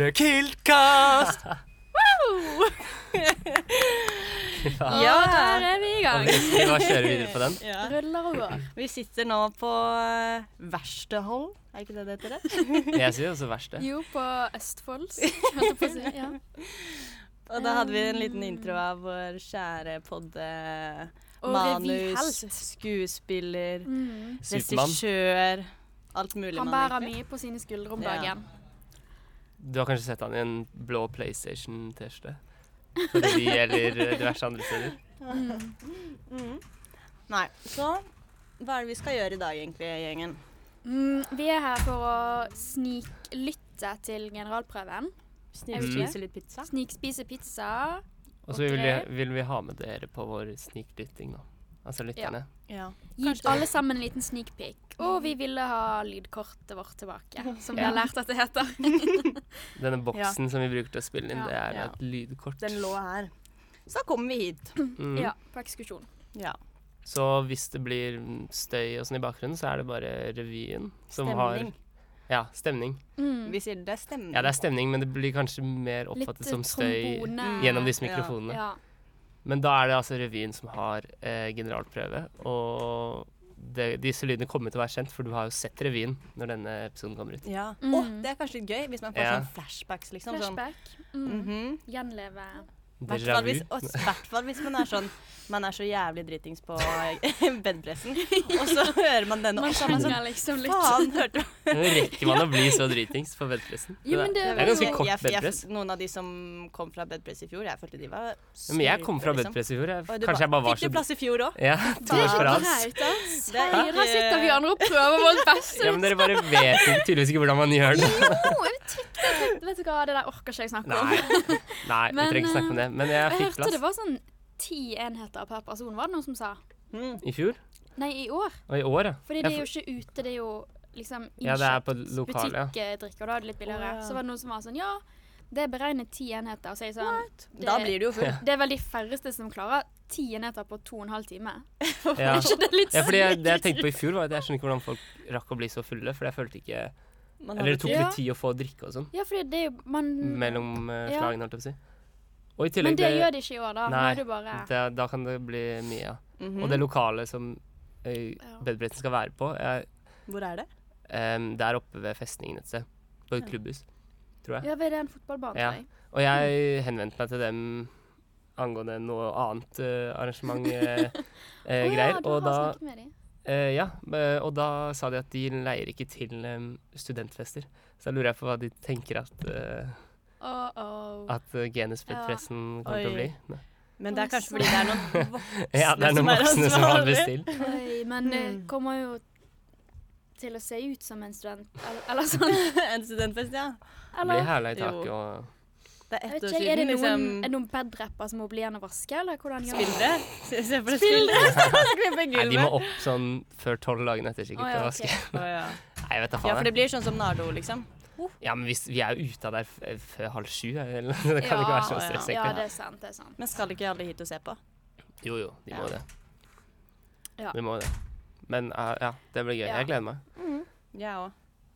Ah. Ah. Vi bare kjører videre på den. Ja. Ruller og går. Vi sitter nå på eh, Versteholm, er ikke det det heter? det? Jeg sier også verste. Jo, på Østfolds, holdt jeg på å si. Ja. Og da hadde vi Um. en liten intro av vår kjære podde. Og Manus, revyhelt. skuespiller, Mm. Supermann. regissør. Alt mulig. Han mann, bærer egentlig. mye på sine skuldre om Ja. dagen. Du har kanskje sett han i en blå PlayStation-T-skjorte? På revy eller diverse andre steder. Mhm. Nei. Så hva er det vi skal gjøre i dag, egentlig, gjengen? Mm, vi er her for å sniklytte til generalprøven. Snikspise litt pizza? Snikspise pizza. Og så vil, vi- vil vi ha med dere på vår snikdytting, da. Altså lytterne. Ja. Gi alle sammen en liten sneak peek. Og vi ville ha lydkortet vårt tilbake, som vi har Ja. lært at det heter. Denne boksen som vi bruker til å spille inn, Ja. det er Ja. et lydkort. Den lå her. Så kommer vi hit. Mm. Ja, på ekskursjon. Ja. Så hvis det blir mm, støy og sånn i bakgrunnen, så er det bare revyen som Stemning. har Ja, stemning. Mm. Vi sier det er stemning. Ja, det er stemning, men det blir kanskje mer Mm. Litt eh, oppfattet som støy trombone. gjennom disse Ja. mikrofonene. Ja. Men da er det altså revyen som har eh, generalprøve, og det, disse lydene kommer til å være kjent, for du har jo sett revyen når denne episoden kommer ut. Ja. Mm. Åh, det er kanskje litt gøy hvis man får Ja. sånn flashbacks, liksom. Sånn. Flashback. Mm. Mhm. Gjenleve. Déjà vu. Hvertfall hvis, og hvertfall hvis man er sånn Man er så jævlig dritings på eh, bedpressen, og så hører man denne, og Man så er man sånn savner liksom litt Faen, hørte du? Men Rekker man å bli så dritings på bedpressen? Jo, men det er var ganske jo- kort Jeg- jeg- bedpress. Noen av de som kom fra bedpress i fjor, jeg følte de var Ja, Men jeg kom fra super, liksom. bedpress i fjor. Jeg, Og du kanskje jeg bare var Fikk så du plass i fjor òg? Ja, to år på Faen. rad. Greit, ass. Det er Herregud, Her ikke- sitter vi andre og prøver vårt beste. eh, Ja, men dere bare vet ikke- tydeligvis ikke hvordan man gjør det. Å, jeg tykte- jeg tykte- Vet du hva, det der orker ikke jeg snakke om. Nei, nei vi Men, eh, trenger ikke snakke om det. Men jeg Jeg fikk hørte det plass var sånn ti enheter per person, var det noen som sa? Mm. i fjor. Nei, i år. Og i år, ja. Jeg Fordi det er jo f- ikke ute, det er jo liksom Ja, det er innkjøpt på lokale, ja. butikkdrikk, og da er det litt billigere. Å, ja. Så var det noen som var sånn, ja, det er beregnet ti enheter, og så er jeg sånn, Da blir det jo full. det er vel de færreste som klarer ti enheter på to og en halv time. ja. Er ikke det litt ja fordi jeg, sykt? det jeg tenkte på i fjor, var at jeg skjønner ikke hvordan folk rakk å bli så fulle. For jeg følte ikke Man Eller det tok tid. litt tid å få drikke og sånn Ja, fordi det er jo, man... mellom eh, Mm. Ja. slagene, holdt jeg på å si. Og i Men tillegg det gjør de ikke i år da, nå Nei, er det bare... det, Da kan det bli mye, ja. Mhm. Og det lokalet som eh, Mm. Ja. bedbretten skal være på, er, Hvor er det? em, det er oppe ved festningen et sted. På et klubbhus, tror jeg. Ja, ved den fotballbanen, Ja. tror jeg. Og jeg henvendte meg til dem angående noe annet eh, arrangement eh, eh, Å greier. ja, du og, har sånn da, snakket med dem. eh, ja, eh, og da sa de at de leier ikke til em, studentfester. Så da lurer jeg på hva de tenker at, eh, Åh, åh. at eh, genusbedpressen kommer til å Oi. bli. Ne. Men det er Å, kanskje sånn. fordi det er noen voksne Ja, det er noen voksne som har bestilt. Oi, men det Mm. kommer jo til å se ut som en student, eller, eller sånn. en studentfest, ja. Blir Eller, hæla i Jo. taket og Det er jeg ett vet år ikke, er det siden, noen, liksom. er det noen bedrapper som må bli igjen og vaske, eller hvordan gjør man det? Spillere? Se, se på det spillere! Nei, de må opp sånn før tolv dagene etter, sikkert. Å, og ja, vaske. ok. Å, ja. Nei, jeg vet da ja, for faen. det jeg. blir sånn som Nardo, liksom. Ja, men hvis, vi er jo ute av der f- eh, før halv sju. Eller, det kan ikke Ja, være så ja. stress, Ja, egentlig. det er sant, det er sant. Men skal ikke alle hit og se på? Jo, jo, de må Ja. det. Ja. De må det. Men eh, ja, det blir gøy. Ja. Jeg gleder meg. Jeg òg.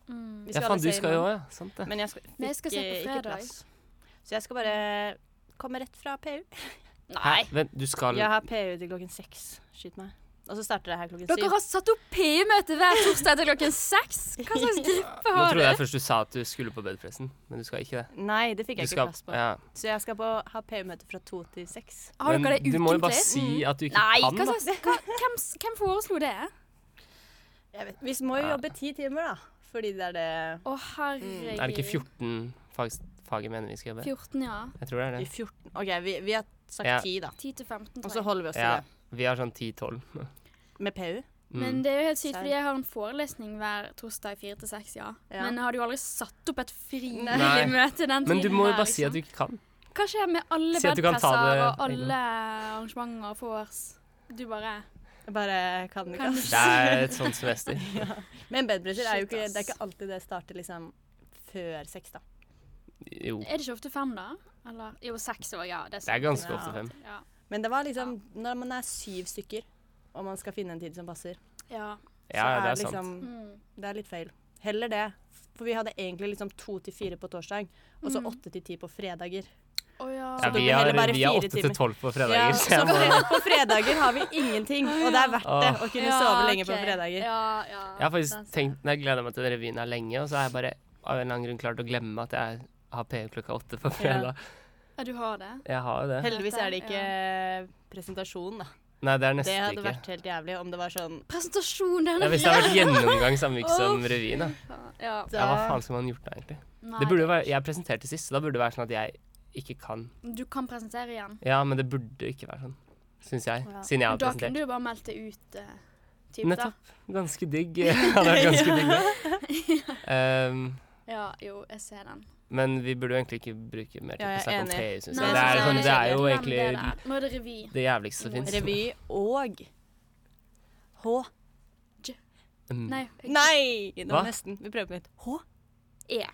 Mm. Ja, faen, du skal jo òg, ja. Sant det. Men jeg skal, fikk, Men jeg skal se på eh, fredag. Ikke plass. Så jeg skal bare komme rett fra PU. Hæ? Vent, du skal Jeg har PU til klokken seks. Skyt meg. Og så starter det her klokken Dere syv. har satt opp PU-møte hver torsdag etter klokken seks! Hva slags gruppe Nå har trodde du? jeg først du sa at du skulle på bedpressen, men du skal ikke det. Nei, det fikk Du jeg ikke skal, plass på. ja. Så jeg skal på, ha PU-møte fra to til seks. Har Men dere det du må jo bare ukentlig? si Mm. at du ikke Nei, kan, hva da. slags, hva, hvem, s- hvem foreslo det? Vi må jo Ja. jobbe ti timer, da. Fordi det er det Å, herregud. Er det ikke 14 fag, fag jeg mener vi skal jobbe? 14, ja. Jeg tror det er i det. 14 OK, vi, vi har Ja. sagt ti, da. 10 til 15, Og tror så jeg. holder vi oss Ja, til det. vi har sånn 10-12. Med PU. Mm. Men det er jo helt sykt, Serr. fordi jeg har en forelesning hver torsdag i fire til seks, ja. Ja. Men jeg hadde jo aldri satt opp et frivillig Nei. møte den tiden. Men du må jo der, bare si at liksom. du ikke kan. Hva skjer med alle Si at du kan ta bedpresser det- og alle arrangementer og vors? Du bare Jeg bare kan ikke. kan ass. Det er et sånt semester. Men bedpresser er Shit, jo ikke ass. Det er ikke alltid det starter liksom før seks, da. Jo. Er det ikke ofte fem, da? Eller jo, seks år, ja. Det er, Det er sant. ganske Ja. ofte fem. Ja. Men det var liksom når man er syv stykker, og man skal finne en tid som passer, ja. Ja, så er det det er sant. liksom Mm. Det er litt feil. Heller Mm. det. For vi hadde egentlig liksom to til fire på torsdag, og så åtte til ti på fredager. Å ja. Ja, du vi blir heller har, bare vi har fire 8 til timer. 12 på fredager. Ja, så så jeg må, på, fre- på fredager har vi ingenting, og det er verdt det å kunne Ja, sove lenge på ok. fredager. Ja, ja. jeg har Den- faktisk tenkt, jeg gleder meg til den revyen her lenge, og så har jeg bare av en eller annen grunn klart å glemme at jeg har PU klokka åtte på fredag. Ja, du har det. Jeg har jo det. Heldigvis er det ikke presentasjon, da. Nei, det er Det nesten hadde ikke. vært helt jævlig om det var sånn Presentasjon, den Ja, hvis det hadde vært gjennomgang samme uke som Åh, revyen, da. Ja. Ja, hva faen skulle man gjort da, egentlig? Nei, Det burde jo være, jeg presenterte sist, så da burde det være sånn at jeg ikke kan. Du kan presentere igjen. Ja, men det burde ikke være sånn, syns jeg. Ja. Siden jeg har Da kunne presentert. du jo bare meldt det ut. eh, typ, Nettopp. Ganske digg. Det hadde vært ganske digg, det. Um, Da. Ja, jo, jeg ser den. men vi burde jo egentlig ikke bruke mer tid Ja, på å jeg er snakke om enig. TU, syns Nei, jeg. jeg Det er, synes sånn, det er kjedelig, jo men egentlig det der. Nå er det revy. det jævligste som fins. revy og H. Mm. Nei. Nei! Det Hva? var nesten. Vi prøver på nytt. H. E.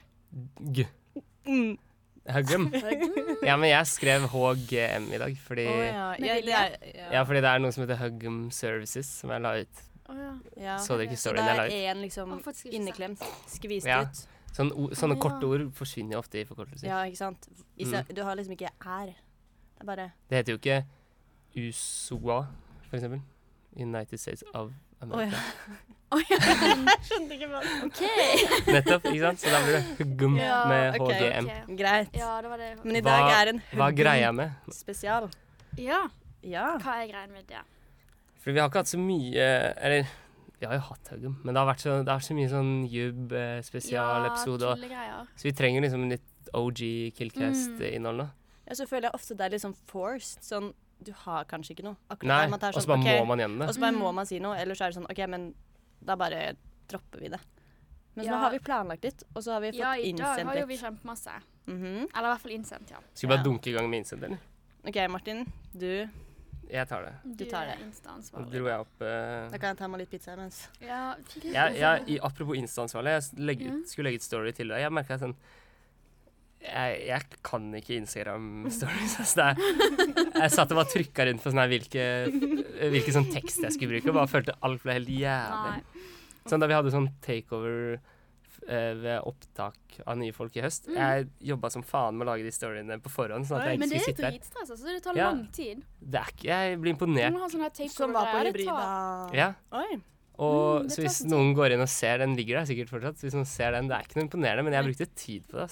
G. Mm. Hugum. Ja, men jeg skrev HGM i dag, fordi Å ja. Med ja, det er, ja, fordi det er noe som heter Hugum Services, som jeg la ut. Å ja. ja. Så dere ikke ok. Eh, Så storyen det jeg la er ut? én liksom Å, faktisk ikke sant. inneklemt. Skvist Ja. ut. Sånn, o- sånne Ja. korte ord forsvinner jo ofte i forkortelser. Ja, ikke sant. I Mm. sted- Du har liksom ikke er. Det er bare Det heter jo ikke USOA, for eksempel. United States of America. Å ja. Jeg skjønte ikke hva OK. Nettopp, ikke sant? Så da blir det HUGUM Ja, med ok, HGM. Ok. Greit. Ja, det var det. Men i Hva- dag er en Hva er greia med? spesial. Ja, Ja. hva er greia med det? For vi har ikke hatt så mye Eller vi har jo hatt HUGUM, men det har vært så, det har vært så mye sånn jubb, eh, spesialepisode Ja, og tullegreier. Så vi trenger liksom litt OG Mm. Killcast-innhold nå. Ja, så føler jeg ofte det er litt sånn forced. Sånn, du har kanskje ikke noe. Akkurat Nei, der man tar og så sånn, bare ok, må man gjennom Og det. så bare Mm. må man si noe, ellers er det sånn OK, men da bare dropper vi det. Men så Ja. nå har vi planlagt litt, og så har vi fått Ja, i dag innsendt har jo litt. vi sånn- kjempemasse. Mhm. Eller i hvert fall innsendt, ja. Skal vi bare Ja. dunke i gang med innsender, eller? OK, Martin. Du Jeg tar det. Du tar er det. Nå Instaansvarlig. dro jeg opp eh, Da kan jeg ta meg litt pizza imens. Ja, fint. jeg, jeg, i, apropos Insta-ansvarlig, jeg s- legge, Ja. skulle legge ut story til deg. Jeg merka sånn jeg, jeg kan ikke Instagram-stories. Altså det er, jeg satt og bare trykka rundt på sånn her hvilke, hvilke sånn tekst jeg skulle bruke, og bare følte alt ble helt jævlig. Nei. Sånn Da vi hadde sånn takeover eh, ved opptak av nye folk i høst Jeg jobba som faen med å lage de storyene på forhånd. Sånn at jeg Mm. Men ikke det skulle er sitte der. dritstress, altså. Det tar Ja. lang tid. Det er ikke, jeg blir Du imponert. må ha sånn her Som var på takeover-greier. Det tar- hybrida. Ja. Oi. Og Mm, det så tar hvis sin tid. noen går inn og ser den, ligger der sikkert fortsatt. Hvis noen ser den, Det er ikke noe imponerende, men jeg brukte tid på det. ass.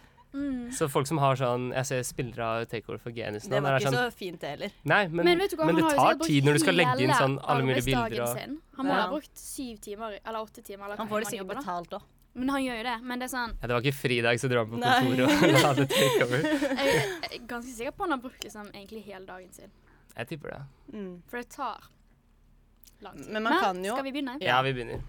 Eh, Mm. Så folk som har sånn Jeg ser spillere av Takeover for Genus nå. Det var der er ikke sånn, så fint, det heller. nei, men, Men vet du hva, men han det har jo tar sikkert brukt tid når du skal legge inn hele sånn alle mulige arbeidsdagen bilder og sin. Han må Ja. ha brukt syv timer, eller åtte timer, eller Han hvor mange får det sikkert jobber, da. betalt òg. Men han gjør jo det. Men det er sånn, ja, Det var ikke fridag, så dro han på Nei. kontoret og hadde Takeover. jeg jeg er ganske sikker på han har brukt liksom egentlig hele dagen sin. Jeg tipper det. Mm. For det tar lang tid. Men man kan jo- skal vi begynne? Ja, vi begynner.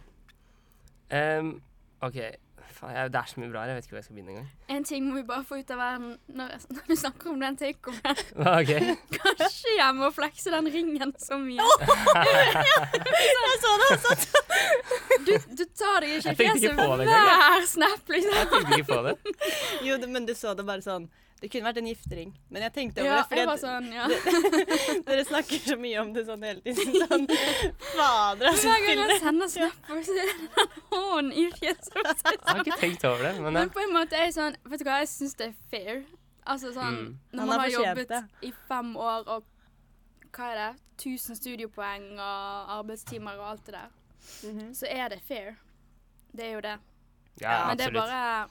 Ehm, OK. Faen, jeg, det er så mye bra her. Jeg vet ikke hvor jeg skal begynne engang. En ting må vi bare få ut av verden når, når du snakker om den takeoveren. Ok. Kanskje jeg må flekse den ringen så mye. Jeg så det også! Du, du tar deg ikke Jeg i tenkte ikke fjeset på det engang, hver snap, liksom. Jeg tenkte ikke på det. Jo, det- men du så det bare sånn. Det kunne vært en giftering, men jeg tenkte over Ja, det. fordi jeg var at sånn, ja. Dere snakker så mye om det sånn hele tiden. Sånn, Fader, altså. Hver gang jeg sender snap, så er det den hånden i fjeset. Jeg har ikke tenkt over det. Men ja. sånn. Men på en måte er jeg sånn Vet du hva, jeg syns det er fair. Altså sånn Mm. Når Han man har har fortjent jobbet i fem år og hva er det? 1000 studiepoeng og arbeidstimer og alt det der, Mhm. så er det fair. Det er jo det. ja, Men det er absolutt. bare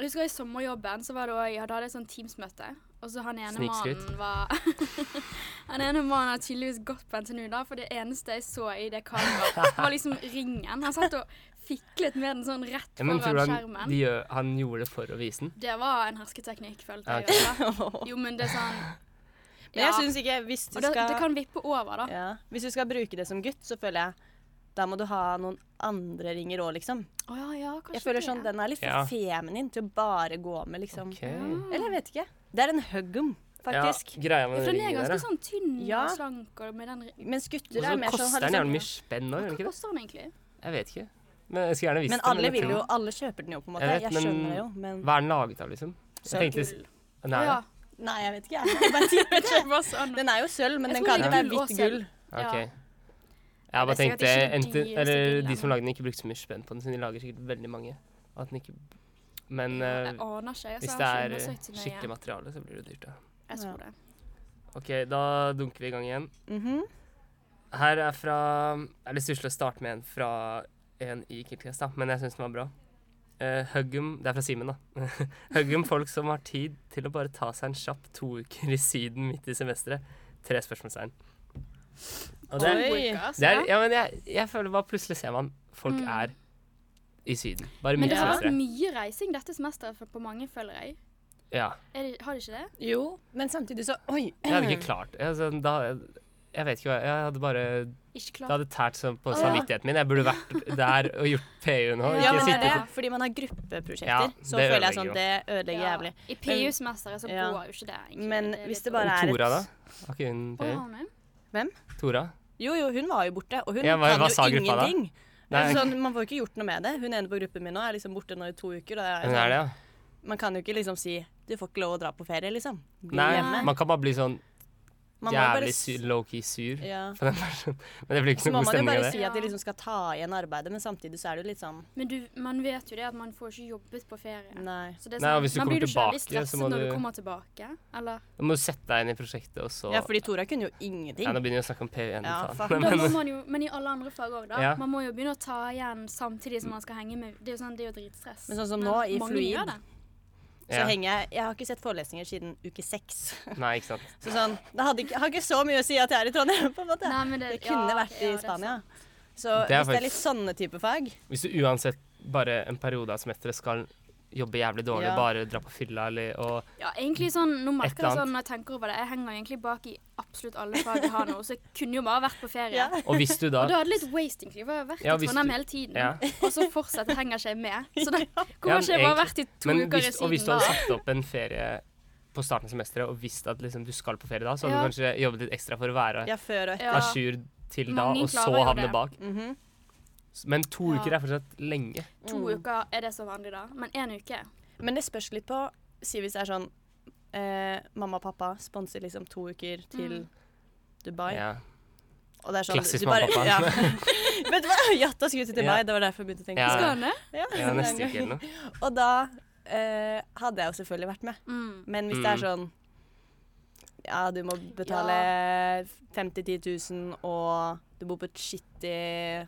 Jeg husker i sommerjobben så var det også, jeg hadde hatt et sånt Teams-møte, og så han ene Snikskryt. mannen var Han ene mannen har tydeligvis gått på NTNU, da, for det eneste jeg så i det kameraet, var liksom ringen. Han satt og fiklet med den sånn rett Ja, men foran tror du han, skjermen. de gjør, han gjorde det for å vise den? Det var en hersketeknikk, følte jeg. Ok. i hvert fall. Jo, men det er sånn Men jeg syns ikke Hvis du Og det, det skal kan vippe over, da. ja, Hvis du skal bruke det som gutt, så føler jeg da må du ha noen andre ringer òg, liksom. Å ja, ja, kanskje Jeg føler det. sånn, Den er litt for Ja. feminin til å bare gå med, liksom. Ok. Eller jeg vet ikke. Det er en huggum, faktisk. Ja, greia Ja, med den For den er ringen ganske der, sånn tynn Ja. og slank og med den ri- Mens gutter Og er så mer sånn koster har den litt jævlig sånn- mye spenn nå, gjør Hva den ikke det? koster den egentlig? Jeg vet ikke. Men jeg skulle gjerne visst Men det, alle jeg vil tror- jo, alle kjøper den jo, på en måte. Jeg Jeg, vet, men- skjønner det jo, men Hva er den laget av, liksom? Jeg tenkte s- Gull. Nei, Ja, Nei, jeg vet ikke, jeg. jeg. bare tipper. det var sånn. Den er jo sølv, men Jeg den tror kan det jo er være gull og hvitt sølv. gull. ok. Ja. Jeg bare Det er sikkert tenkte ikke de enten, dyreste eller de brillene. som lager den, ikke brukte så mye spenn på den, siden de lager sikkert veldig mange. At den ikke Men eh, Jeg aner ikke. Jeg hvis har det ikke er eh, undersøkt så skikkelig nøye. materiale, så blir det dyrt, da. Jeg tror det. OK, da dunker vi i gang igjen. Mhm. Her er fra Jeg har litt stusslig å starte med en fra en i Kiltcast, da, men jeg syns den var bra. Uh, Huggum Det er fra Simen, da. Huggum folk som har tid til å bare ta seg en kjapp to uker i Syden midt i semesteret. Tre spørsmålstegn. Og det er, Oi. det er Ja, men jeg, jeg føler bare plutselig ser man folk Mm. er i Syden. Bare Men midt i det har vært semesteret. mye reising dette semesteret for- på mange, føler jeg. sånn- Ja. Er det, har det ikke det? Jo, men samtidig så Oi! Jeg hadde ikke klart altså, da, Jeg vet ikke hva Jeg hadde bare Ikke Det klart. hadde tært sånn på Å, ja. samvittigheten min. Jeg burde vært der og gjort PU nå. Ja, Ja, Ikke men det er sitte det. på Fordi man har gruppeprosjekter, Ja, så det føler ødelegger jeg sånn det ødelegger Ja. jævlig. I PU-semesteret så Ja. går jo ikke det. egentlig. Men Det er hvis litt det bare Og er Tora, et- da? Har ikke hun Å, PU? har hun? Tora? Jo, jo, hun var jo borte, og hun Ja, hva- hva sa kan jo gruppa da? ingenting. Nei, Altså, Sånn, man får ikke gjort noe med det. Hun ene på gruppen min nå er liksom borte nå i to uker. Og jeg, hun er det, ja. Man kan jo ikke liksom si du får ikke lov å dra på ferie, liksom. Bli Nei, hjemme. man kan bare bli sånn Man må jo bare jævlig s- sy- low-key sur Ja. på den personen. sånn- Men det blir ikke Så så god må man jo stemning av bare det. si at de liksom skal ta igjen arbeidet, men samtidig så er det jo litt sånn Men du, man vet jo det at man får ikke jobbet på ferie. Nei. Så det er sånn, Nei, og hvis du man kommer blir jo ikke veldig tilbake, så stresset må når du du- kommer tilbake. Eller? Du må sette deg inn i prosjektet, og så Ja, fordi Tora kunne jo ingenting. Nei, nå begynner vi å snakke om PU igjen. Ja, faen. fuck. Nei, Da men- må man jo, men i alle andre fag òg, da. Ja. Man må jo begynne å ta igjen samtidig som man skal henge med. Det er jo, sånn, det er jo dritstress. Men sånn som nå, i mange fluid, gjør det. Så ja. henger jeg Jeg har ikke sett forelesninger siden uke seks. Nei, ikke sant. Så sånn Det hadde ikke, har ikke så mye å si at jeg er i Trondheim, på en måte. Nei, men det- Jeg kunne ja, vært ja, i det er Spania. sant. Så Det er hvis faktisk- det er litt sånne type fag Hvis du uansett bare en periode av semesteret skal jobbe jævlig dårlig, Ja. bare dra på fylla eller og Ja, egentlig sånn, Nå Et merker jeg eller sånn når jeg tenker over det, jeg henger egentlig bak i absolutt alle fag jeg har nå, så jeg kunne jo bare vært på ferie. Ja. Og hvis du Og da da er det litt waste, egentlig. for Jeg har vært Ja, i hvis Trondheim du- hele tiden, Ja. og så fortsetter henger ikke jeg med. Så da Ja, kunne ikke jeg bare egentlig. vært i to Men uker i hvis, og hvis du hadde Syden, da. satt opp en ferie på starten av semesteret og visst at liksom, du skal på ferie da, så hadde Ja. du kanskje jobbet litt ekstra for å være Ja, før og etter. Ja. à jour til da, Mange og så klarer jo havne det. bak. Mhm. S- Men to Ja. uker er fortsatt lenge. To Mm. uker er det så vanlig, da. Men én uke. Men det spørs litt på Si hvis det er sånn eh, Mamma og pappa sponser liksom to uker Mm. til Dubai. Ja. Og det er sånn Klassisk du bare- mamma og pappa. Ja. Vet du hva? Jatta skulle til Dubai, Ja. det var derfor jeg begynte å tenke Ja. på Skal han det? det. Ja, ja, det er neste en uke gang. eller noe. Og da eh, hadde jeg jo selvfølgelig vært med. Mm. Men hvis det er Mm. sånn Ja, du må betale 50 000-10 000, og du bor på et skittig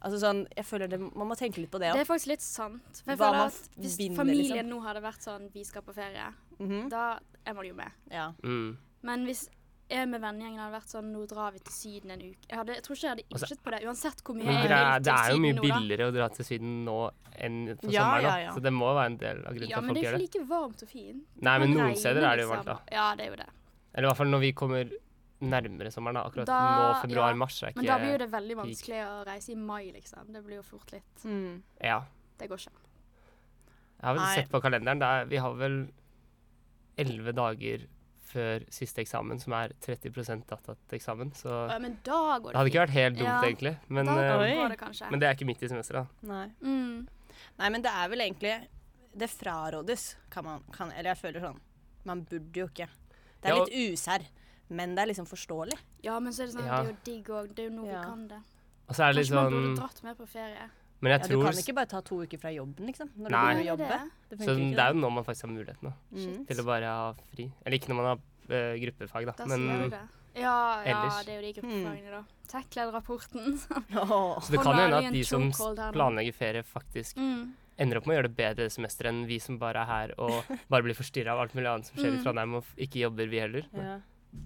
Altså sånn Jeg føler det Man må tenke litt på det Det òg. er faktisk litt sant. For jeg Hva føler man at hvis vinner, familien liksom. Mhm. nå hadde vært sånn Vi skal på ferie. Da er man jo med. ja. Mm. Men hvis jeg med vennegjengen hadde vært sånn Nå drar vi til Syden en uke. Jeg, hadde, jeg tror ikke jeg hadde Altså, innsett på det. Uansett hvor mye Men jeg det er, vil det er til jo mye Syden nå, da. billigere å dra til Syden nå enn på Ja, sommeren. ja, da. ja. Så det må være en del av grunnen Ja, til at men folk det er gjør ikke det. like varmt og fint. Nei, men Det noen regner, steder er det jo liksom. varmt, da. Ja, det er jo det. Eller i hvert fall når vi kommer nærmere sommeren, da. Akkurat nå, Da- ja. februar-mars, er Men da blir jo ikke det veldig vanskelig å reise i mai, liksom. Det blir jo fort litt Mm. Ja. Det går ikke. Jeg har vel Nei. sett på kalenderen. Det er, vi har vel elleve dager før siste eksamen, som er 30 data til eksamen. Så Å, Ja, men da går det, det hadde ikke vært helt dumt, Ja. egentlig. Men, da eh, Oi. går det kanskje. men det er ikke midt i semesteret, da. Nei. Mm. Nei, men det er vel egentlig Det frarådes, kan man kan, Eller jeg føler sånn Man burde jo ikke. Det er Ja, og- litt usær, men det er liksom forståelig. Ja, men så er det sånn, Ja. det er jo digg òg. Det er jo nå Ja. vi kan det. Og så er det litt Kanskje man burde sånn dratt med på ferie. Men jeg Ja, du tror sånn, kan ikke bare ta to uker fra jobben, liksom. Når du Nei. begynner å Det er jobbe. det. Det Så funker ikke. det er jo nå man faktisk har muligheten da, Mm. til å bare ha fri. Eller ikke når man har eh, gruppefag, da. Da Men, sier du det. Ja, ja, ellers. det er jo de gruppefagene, da. Tech-led-rapporten. Åh. så det Å kan jo lage hende at en de som s- chokehold her nå. planlegger ferie, faktisk Mm. ender opp med å gjøre det bedre det semesteret enn vi som bare er her og bare blir forstyrra av alt mulig annet som skjer i Mm. Trondheim, og f- ikke jobber, vi heller. Ja.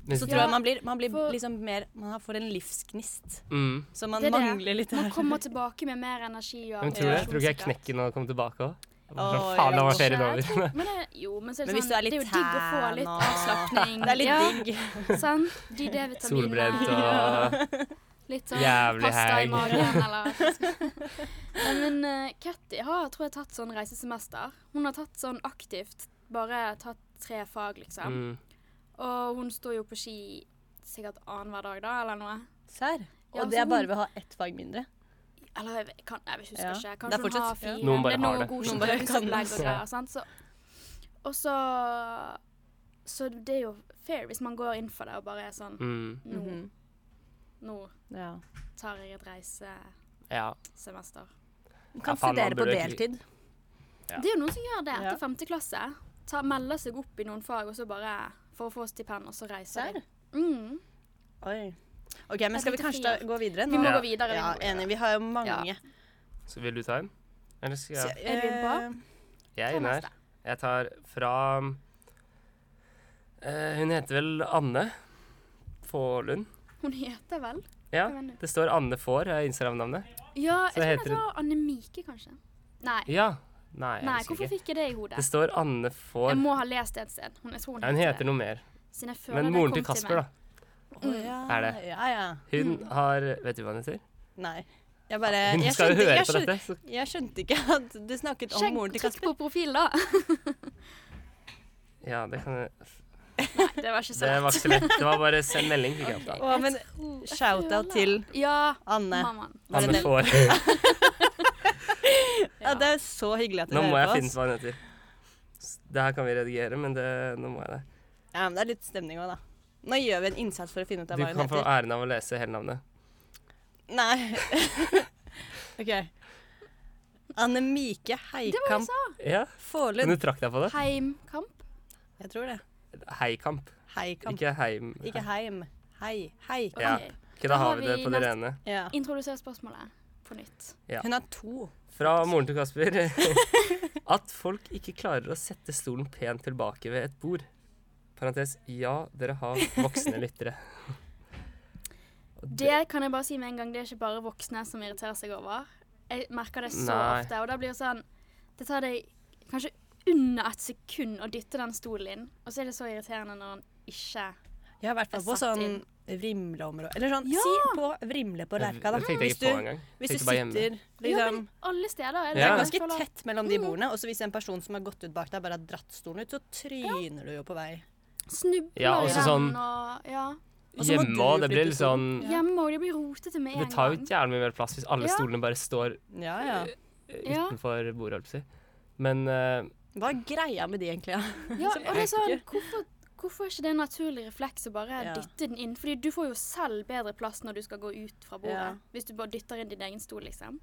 Mens Så de- tror jeg man blir, man blir For- liksom mer Man har- får en livsgnist. mm. Så man Det er det. mangler litt Man her. kommer tilbake med mer energi og Men tror du det? motivasjon, Tror du ikke jeg sikkert. knekker når jeg kommer tilbake òg? Å, Faen, da var Kanskje. ferien Jeg over. tror- Men det, jo, men så er det, Men hvis sånn, du er litt det er jo digg å få tan litt og- avslapning. Det er litt ja, digg. Sant? De D-vitaminene. Solbrent og Litt sånn Jævlig pasta i helg. magen, eller hva det skal- Nei, Men eh, Katty har, tror jeg, tatt sånn reisesemester. Hun har tatt sånn aktivt, bare tatt tre fag, liksom. mm. Og hun står jo på ski sikkert annenhver dag, da, eller noe. Serr? Ja, sånn. Og så det er hun- bare ved å ha ett fag mindre. Eller jeg, vet- kan, jeg husker Ja. ikke. Det Kanskje er hun har fortsatt- fire. ja. Noen bare det er har noe det. godkjent Noen bare kan øvingsopplegg det. og greier, sant? Så, og så Så det er jo fair hvis man går inn for det og bare er sånn Mm. Nå, Mhm. nå Ja. tar jeg et reisesemester. Ja. Kan Ja, Kan faen, man studere på burde egentlig- deltid. Ja. Det er jo noen som gjør det Ja. etter femte klasse. Ta, melder seg opp i noen fag og så bare for å få stipend, og så reiser de. Mm. Oi. OK, men skal vi kanskje da gå videre Vi nå? må Ja. gå videre. vi Ja, må gå videre. enig. Vi har jo mange. Ja. Så vil du ta en? Eller skal Så, jeg Er du inne på? eh, Jeg Ta er inne her. neste. Jeg tar fra eh, Hun heter vel Anne Fålund? Hun heter vel Ja. Hva mener du? Det står Anne Får, er Instagram-navnet. Så Ja, jeg tror heter det var Anne Mike, kanskje. Nei, Ja. Nei, jeg Nei husker hvorfor ikke. fikk jeg det i hodet? Det står Anne Jeg Får. må ha lest det et sted. Hun, jeg tror hun, Ja, hun heter noe mer. Siden jeg føler Men det moren kom til Kasper, da. meg. Mm. å ja, Er det? Ja, ja. Hun har Vet du hva hun heter? Eh, Nei. Jeg bare Hun jeg skal jo skjønte, høre jeg, på skjønte, dette. Så. jeg skjønte ikke at du snakket om Sjekk, moren til trykk Kasper. på profil, da. Ja, det kan jeg Nei, det var ikke så Det lett. var ikke så lett. Det var bare send melding, fikk jeg opp da. Å, men shout-out til Ja, Anne. mammaen. Var det Anne den? Får. Ja, det er så hyggelig at du Nå må hører jeg på finne oss. ut hva hun heter. S- Det her kan vi redigere, men det, nå må jeg det. Ja, men det er litt stemning òg, da. Nå gjør vi en innsats for å finne ut av Du hva hun kan få heter. æren av å lese hele navnet. Ah. Nei. OK. Anne Mike Heikamp Ja, Men Forlund. du trakk deg på det? Heimkamp. Jeg tror det. Heikamp, Heikamp. ikke heim. Ikke Heim. Hei. Hei. Ok. Ja. Ok, da har vi det på det neste. rene. Ja. Introduser spørsmålet på nytt. Ja. Hun har to. Fra moren til Kasper. At folk ikke klarer å sette stolen pent tilbake ved et bord. Parentes ja, dere har voksne lyttere. Og Det kan jeg bare si med en gang, det er ikke bare voksne som irriterer seg over. Jeg merker det så Nei. ofte, og da blir det sånn Det tar deg kanskje under et sekund å dytte den stolen inn, og så er det så irriterende når den ikke Jeg har vært Jeg på satt sånn vrimleområde Eller sånn, Ja! si på vrimle på det Lerka, da. det tenkte jeg Hvis ikke på du, engang. hvis du Tenkte bare hjemme. sitter liksom Alle steder er Det Ja. er jeg ganske føler- tett mellom de bordene, og så hvis en person som har gått ut bak deg, bare har dratt stolen ut, så tryner du jo på vei. Snubler Ja, i også den, sånn- og ja. Og så må Hjemme du òg, det blir flytte litt sånn stolen. Hjemme òg. Det blir rotete med en Det tar jo gang. ikke jævlig mye mer plass hvis alle Ja. stolene bare står Ja, ja. Ja. utenfor bordet, holdt jeg på å si. Men eh, Hva er greia med de egentlig? Ja? Ja, Som og det er sånn, ikke- hvorfor, hvorfor er ikke det en naturlig refleks å bare Ja. dytte den inn? Fordi du får jo selv bedre plass når du skal gå ut fra bordet. Ja. Hvis du bare dytter inn din egen stol, liksom.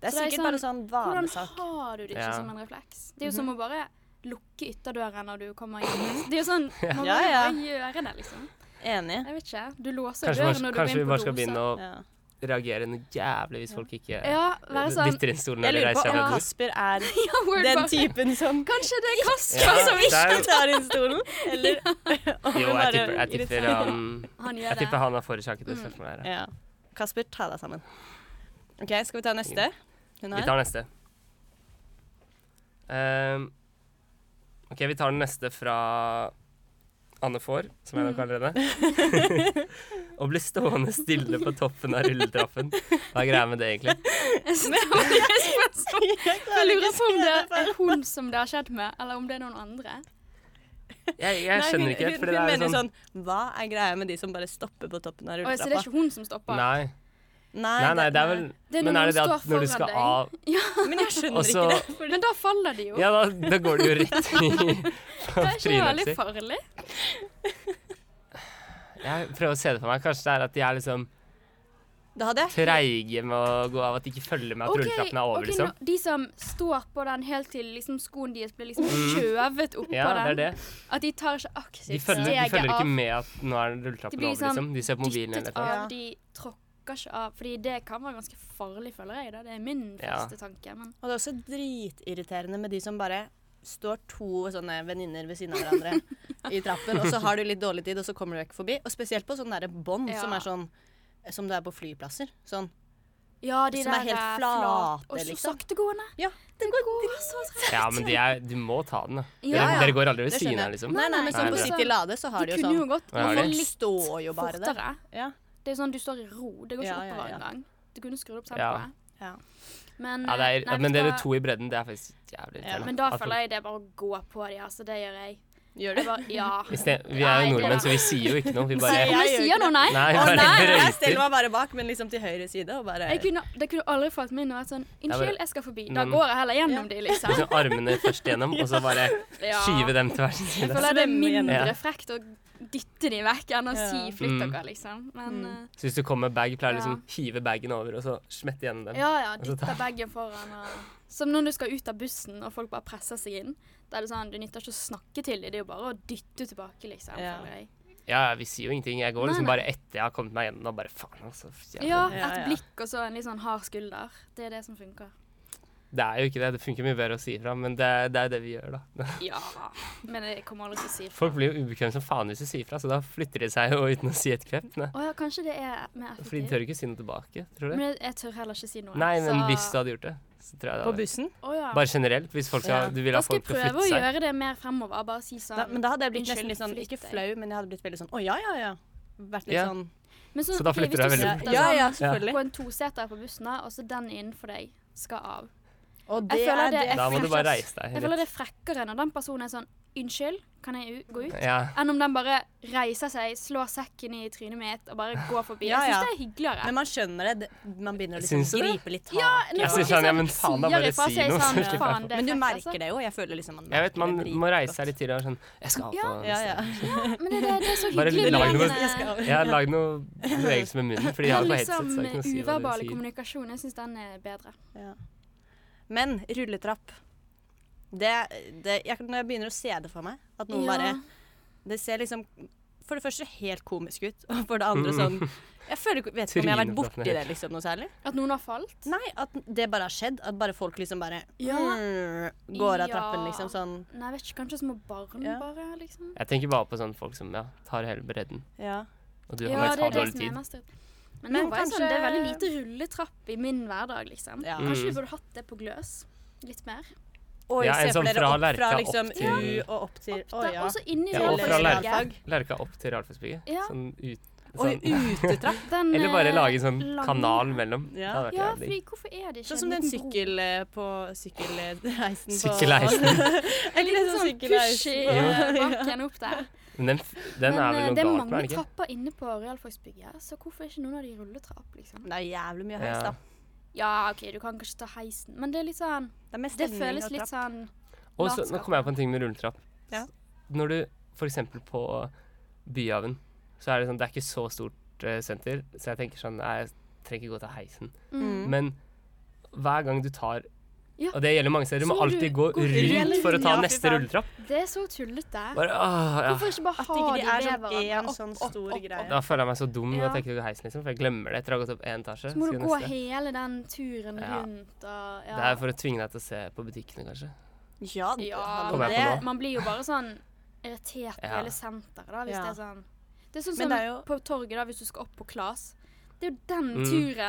Det Så er det er sikkert bare sånn Hvordan vanesak. har du det ikke Ja. som en refleks? Det er jo Mhm. som å bare lukke ytterdøren når du kommer inn. Det er jo sånn, man må Ja, bare ja. gjøre det, liksom. Enig. Jeg vet ikke. Du låser kanskje, døren kanskje, når du går vi inn på bare skal begynne å Ja. reagere noe jævlig hvis folk ikke Ja, være sånn dytter inn stolen Jeg eller lurer på reiser seg om bord. Kasper er ja, word den bubble. typen som Kanskje det er Kasper Ja, som det er ikke jo- tar inn stolen, eller om Jo, hun jeg bare tipper, jeg tipper irriterer. han Han Jeg gjør det. tipper han har forårsaket det spørsmålet her. Ja. Kasper, ta deg sammen. OK, skal vi ta neste? Hun Vi har. tar neste. Ehm, OK, vi tar den neste fra Anne Får, som jeg nå kaller henne. Å bli stående stille på toppen av rulletrappen. Hva er greia med det, egentlig? Jeg synes det var et spørsmål. Jeg Jeg klarer lurer ikke å på om si det dette. er hun som det har skjedd med, eller om det er noen andre. Jeg, jeg Nei, skjønner ikke hun, helt, hun, fordi hun det er mener jo jo sånn sånn Hva er greia med de som bare stopper på toppen av Oi, så det er rulletrappa? ikke hun som stopper? Nei, Nei, nei, nei, det er vel Det er Men når er det det noen at står når du foran skal deg. av Men jeg skjønner Og så- ikke det. Fordi, Men da faller de jo. Ja, da, da går det jo rett i det er ikke trynet veldig sitt. farlig. Jeg prøver å se det for meg. Kanskje det er at de er liksom da hadde jeg treige med å gå av, at de ikke følger med at Ok, rulletrappen er over, ok, liksom. nå- de som står på den helt til liksom, skoen deres blir liksom skjøvet oppå Mm. Ja, det den. er det. At de tar ikke aktivt De følger, de steget følger av. ikke med at nå er rulletrappen De blir over, liksom. liksom De ser på mobilen dyttet eller noe. av, Ja. de tråkker ikke av. Fordi det kan være ganske farlig, føler jeg. Da. Det er min Ja. første tanke. Men Og det er også dritirriterende med de som bare står to sånne venninner ved siden av hverandre i trappen, og så har du litt dårlig tid, og så kommer du ikke forbi. Og spesielt på sånne derre bånd som Ja. er sånn som det er på flyplasser. Sånn. ja, de Som er der helt eh, flate, Og så liksom. saktegående. Ja, den går dritt. Ja, men de er, du må ta den, da. Ja, dere, ja. dere går aldri ved Det siden skjønner av, jeg. liksom. Nei, nei, men Nei, sånn på det- City Lade så De har de jo kunne jo sånn godt Ja, gå det- De litt står jo bare der. fortere. Ja. Det er sånn du står i ro. Det går ikke Ja, ja, oppover ja. engang. Du kunne skrudd opp Ja. tempoet. Ja. Men, Ja, det er, eh, nei, men vet du dere hva? to i bredden, det er faktisk jævlig Ja. irriterende. Men da føler jeg det er bare å gå på de, altså. Det gjør jeg. Gjør jeg du? bare, ja. Vi er jo Nei, det nordmenn, er- så vi sier jo ikke noe. Vi Nei, bare Om jeg gjør sier ikke noe, det. nei. Nei, Å vi nei, bare jeg stiller brøyter. meg bare bak, men liksom til høyre side og bare Jeg kunne, det kunne aldri falt meg inn å være sånn Unnskyld, jeg skal forbi. Da Men- går jeg heller gjennom de, liksom. Liksom armene først gjennom, og så bare Ja. skyve dem til hver sin Jeg side. føler det er Svømme gjennom. mindre Ja. frekt å dytte de vekk enn å si Ja. 'flytt Mm. dere', liksom. Men Mm. Så hvis du kommer med bag, pleier du liksom Ja. hive bagen over og så smette igjen eh, den. ja, ja, Og så dytte bagen foran og Som når du skal ut av bussen og folk bare presser seg inn. Da er det sånn, Du nytter ikke å snakke til dem, det er jo bare å dytte tilbake, liksom. Ja. føler jeg. Ja, ja, vi sier jo ingenting. Jeg går Nei, liksom nei. bare etter jeg har kommet meg gjennom og bare faen, altså. for jævlig. Ja, Ja, et ja. blikk og så en litt sånn hard skulder. Det er det som funker. Det er jo ikke det. Det funker mye bedre å si ifra, men det, det er jo det vi gjør, da. Ja. Men jeg kommer aldri til å si ifra. Folk blir jo ubekvemme som faen hvis du sier ifra, så da flytter de seg jo uten å si et kvep. Nei. Å ja, kanskje det er mer Fordi de effektivt. tør ikke si noe tilbake, tror du? Men altså, jeg, jeg tør heller ikke si noe. Nei, men så- hvis du hadde gjort det, så tror jeg det På hadde bussen? Å ja. Bare generelt, hvis folk skal, Ja. du vil Da ha skal folk jeg til å prøve å flytte seg. gjøre det mer fremover. Bare si sånn. Da, men da hadde jeg blitt Unnskyld, nesten litt sånn, ikke flytt deg. flau, men jeg hadde blitt veldig sånn å ja, ja, ja. Vært litt Ja. sånn Men Så da ok, flytter du hvis deg du veldig sitter Ja, ja, sånn selvfølgelig. På en toseter på bussen, da, og så den innenfor deg skal av. Og Jeg føler det Da må du bare frekkest. reise deg. Jeg rett. føler det er frekkere når den personen er sånn Unnskyld, kan jeg u- gå ut? Ja. Enn om den bare reiser seg, slår sekken i trynet mitt og bare går forbi. Ja, Jeg ja. syns det er hyggeligere. Men man skjønner det. det- Man begynner å liksom Syns du det? gripe litt tak. Ja, Når Jeg synes folk sånn, ja, liksom men faen, da sier bare ifra, si så er jeg noe, så sånn, slipper jeg faen, det er Men du frekt, altså. merker det jo. Jeg føler liksom man Jeg vet, man merker det må reise seg dritgodt. litt tidligere og være sånn Jeg skal av på Ja, ja. Men det, det er så Bare hyggelig lag noe- med eh, Jeg skal- Jeg har lagd noen bevegelser med munnen, fordi jeg har det på headset. Så jeg kan si hva uverbal de sier. kommunikasjon. liksom Jeg syns den er bedre. Ja. Men rulletrapp det, det, jeg, Når jeg begynner å se det for meg At noen bare Det ser liksom For det første helt komisk ut, og for det andre sånn Mm. Jeg føler, ikke- vet ikke om jeg har vært Tryneflatene borti det liksom noe særlig. At noen har falt? Nei, at det bare har skjedd. At bare folk liksom bare Ja. mm, går av Ja. trappen, liksom sånn. Nei, jeg vet ikke. Kanskje små barn, Ja. bare? liksom. Jeg tenker bare på sånne folk som ja, tar hele bredden. Ja. Og du har det ja, er det dårlig som er tid. mest ut. Men, Men nå var jeg sånn, kanskje- det er veldig lite rulletrapp i min hverdag, liksom. Ja. Kanskje Mm. vi burde hatt det på gløs litt mer. Oi, Ja, en se for sånn dere fra opp fra Lerka opp liksom til- U og opp til Å Da- ja. Også inni Ja, og rulletrapp. fra lærerfag. realfag. Lerka opp til realfagsbygget. Ja. Sånn ut Oi, sånn. utetrapp. Den, Eller bare eh, lage en sånn lange- kanal mellom. Det Ja. hadde vært Ja, jævlig fordi hvorfor er det ikke Sånn som den en liten bro? sykkel eh, på sykkelreisen på Sykkelheisen. En Litt liten sånn push i sykkelheisen eh, på bakken opp der. Men den, den Men er eh, vel det er noe galt med mange den, ikke? trapper inne på realfagsbygget, så hvorfor er ikke noen av de rulletrapp, liksom? Det er jævlig mye heis, Ja. da. Ja, OK, du kan kanskje ta heisen, men det er litt sånn Det, er mest Det stemning føles og litt trapp. sånn Og så, nå latskap. kom jeg på en ting med rulletrapp. Ja. Når du for eksempel på Byhaven, så er det sånn Det er ikke så stort eh, senter, så jeg tenker sånn Nei, jeg trenger ikke gå til heisen. mm. Mm. Men hver gang du tar Ja. Og det gjelder mange steder. Du Så må må du alltid gå gå rundt rundt. for å ta Ja, fy neste faen. rulletrapp. Det er så tullete. Bare, åh, ja. Hvorfor ikke bare At ha ikke de de er sånn veverne en opp, sånn opp, stor opp, greie. Da føler jeg meg så dum når Ja. jeg tenker å gå i heisen, liksom, for jeg glemmer det etter å ha gått opp én etasje. Så må skal du jeg gå neste. hele den turen Ja. rundt og ja. Det er for å tvinge deg til å se på butikkene, kanskje. sånn- Ja, det- Ja, Kommer jeg på det- nå? Man blir jo bare sånn irritert på Ja. hele senteret, da, hvis Ja. det er sånn Det er sånn som Men det er jo- på torget, da, hvis du skal opp på Klas. Det er jo den Mm.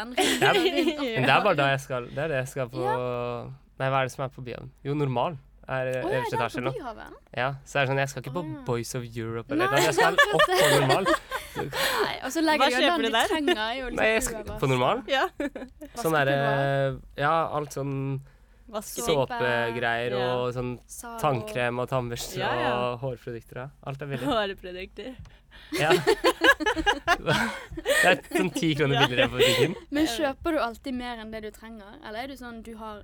turen. Det er, men det Ja. er bare da jeg skal Det er det jeg skal på Nei, hva er det som er på byen? Jo, normal er eh, Å ja, øverste det er etasje på nå. Byhaven. Ja, så er det sånn, jeg skal ikke på Å, ja. Boys of Europe eller Nei, noe. Jeg skal opp på normal. Nei, og så Hva legger du jo kjøper den du du der? trenger. er Jo, liksom Nei, jeg skal øverst. på normal. Ja. Sånn derre Ja, alt sånn Vasketing. Så- såpegreier og sånn Salo. tannkrem og tannbørste Ja, ja. og hårprodukter. Ja. Alt er billig. Hårprodukter. Ja. Det er sånn ti kroner billigere på butikken. Men kjøper du alltid mer enn det du trenger? Eller er du sånn du har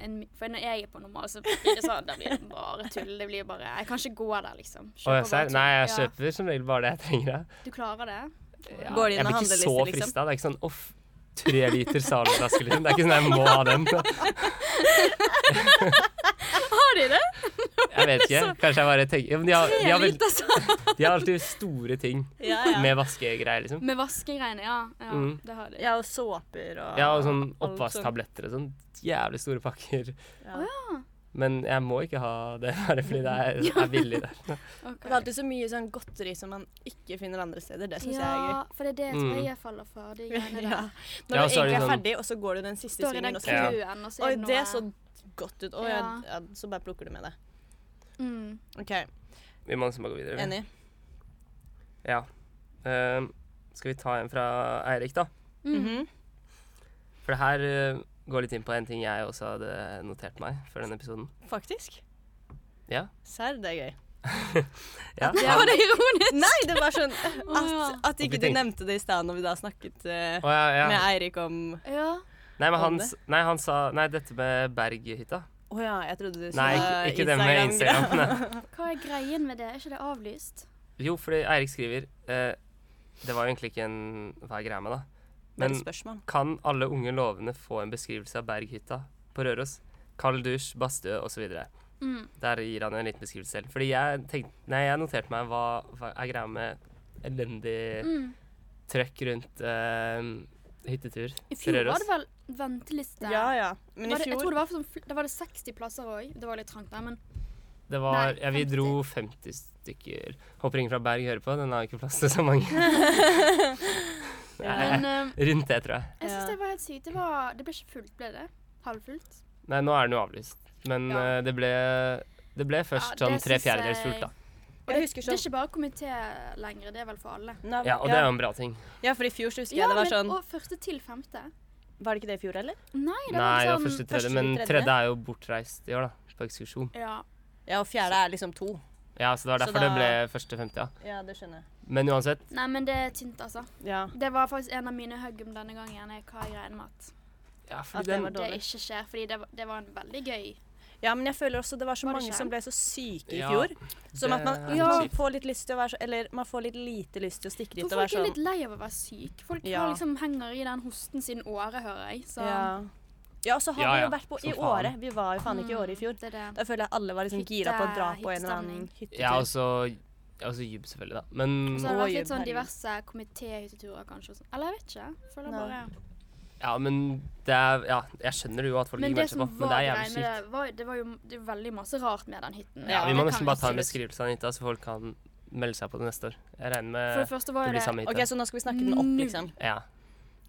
en mi- For når jeg er på normal, så blir det sånn Da blir det bare tull. Det blir bare Jeg kan ikke gå der, liksom. Kjøper Å, jeg bare ser. tull. Nei, jeg Ja. kjøper som regel bare det jeg trenger. jeg. Du klarer det? Ja. Går det inn Jeg og blir ikke handler så liste, liksom? frista. Det er ikke sånn off, tre liter saloflaske, liksom. Det er ikke sånn jeg må ha den. Har de det? Jeg vet ikke. Kanskje jeg bare tenker ja, men de, har, de, har vel, Lite sånn. de har alltid store ting Ja, ja. med vaskegreier, liksom. Med vaskegreiene, ja. ja Mm. Det har de. ja, og såper og Ja, og sånn alt sånt. oppvasktabletter og sånn. Jævlig store pakker. Ja. Men jeg må ikke ha det bare fordi det er, det er billig der. Ok. Det er alltid så mye sånn godteri som man ikke finner andre steder. Det syns jeg er gøy. Ja, for det er det jeg tror Mm. jeg faller for. De Ja. greiene der. Når Ja, så er du det egentlig er sånn- ferdig, og så går du den siste Står i den svingen, og så Ja. køen, og så Oi, er det noe det så godt ut. Å, ja. Ja. Ja, så bare plukker du med det. mm. OK, Vi må liksom bare gå videre. vi. enig. Ja. Ehm, skal vi ta en fra Eirik, da? Mm. Mhm. For det her eh, går litt inn på en ting jeg også hadde notert meg før denne episoden. Faktisk. Ja. Serr, det er gøy. Ja. Ja, det er ironisk! Nei, det var ja. sånn at, at ikke Ok, du tenk. nevnte det i stad når vi da snakket eh, Å, ja, ja. med Eirik om Ja. Nei, men han, Hadde. s- nei, han sa Nei, dette med Berghytta. Å ja, jeg trodde du sa Nei, ikke, ikke det med Instagram. Nei. Hva er greien med det? Er ikke det avlyst? Jo, fordi Eirik skriver eh, Det var jo egentlig ikke en Hva er greia med, da? Det er Men et spørsmål. kan alle unge lovende få en beskrivelse av Berghytta på Røros? Kald dusj, badstue osv. Mm. Der gir han jo en liten beskrivelse selv. Fordi jeg tenkte Nei, jeg noterte meg hva, hva er greia med elendig Mm. trøkk rundt eh, hyttetur I til fjor var Røros. det vel venteliste? Ja, ja. Men i Var det, jeg tror fjor det var, sånn, fl- da var det 60 plasser òg. Det var litt trangt der, men Det var Nei, Ja, vi 50. dro 50 stykker. Håper ingen fra Berg hører på, den har ikke plass til så mange. Nei, Men eh, rundt det, tror jeg. jeg syns Ja. det var helt sykt. Det, var, det ble ikke fullt, ble det? Halvfullt? Nei, nå er den jo avlyst. Men Ja. eh, det, ble, det ble først Ja, sånn det tre synes jeg- fjerdedels fullt, da. Jeg husker Det er sånn ikke bare komité lenger, det er vel for alle. Nei, Ja, og det er jo en bra ting. ja, for i fjor så husker jeg det var sånn Og første til femte. Var det ikke det i fjor, eller? Nei, Nei, det det var var sånn første tredje, første men tredje. tredje er jo bortreist i år, da. På ekskursjon. Ja. Ja, og fjerde er liksom to. Ja, så det var Så derfor da- det ble første femte, ja. Ja, det skjønner jeg. Men uansett, Nei, men det er tynt, altså. Ja. Det var faktisk en av mine hugg om denne gangen. er Hva jeg regner med at ja, At fordi det den var det dårlig. ikke skjer, fordi det, var- det var en veldig gøy Ja, men jeg føler også det var så Var det mange skjerm? som ble så syke i Ja, fjor. Som det at man, er man kjipt. får litt lyst til å være så Eller man får litt lite lyst til å stikke dit For og være folk er sånn litt lei av å være syk. Folk Ja. har liksom henger i den hosten siden året, hører jeg. Så Ja. ja, og så har Ja, vi ja, jo vært på som i faen. året. Vi var jo faen ikke i året i fjor. det er det. Da føler jeg alle var liksom Hytte- gira på å dra på en eller annen hyttetur. Ja, altså, og så ja, og så jubb, selvfølgelig, da. Men Og så har det vært Oi, litt sånn herregud. diverse komitéhytteturer, kanskje. og sånn. Eller jeg vet ikke. Føler jeg Nei. bare Ja, men det er Ja, jeg skjer jo at folk Men ikke det matcher som på, men det var er greia jævlig med kjipt. det, var, det var jo det var veldig masse rart med den Ja, hytten. Ja, vi det må kan nesten bare ta en absolutt- beskrivelse av den hytta, så folk kan melde seg på den neste år. Jeg regner For det med første det var jo blir det samme Ok, hytte. så nå skal vi snakke den opp, liksom. Ja.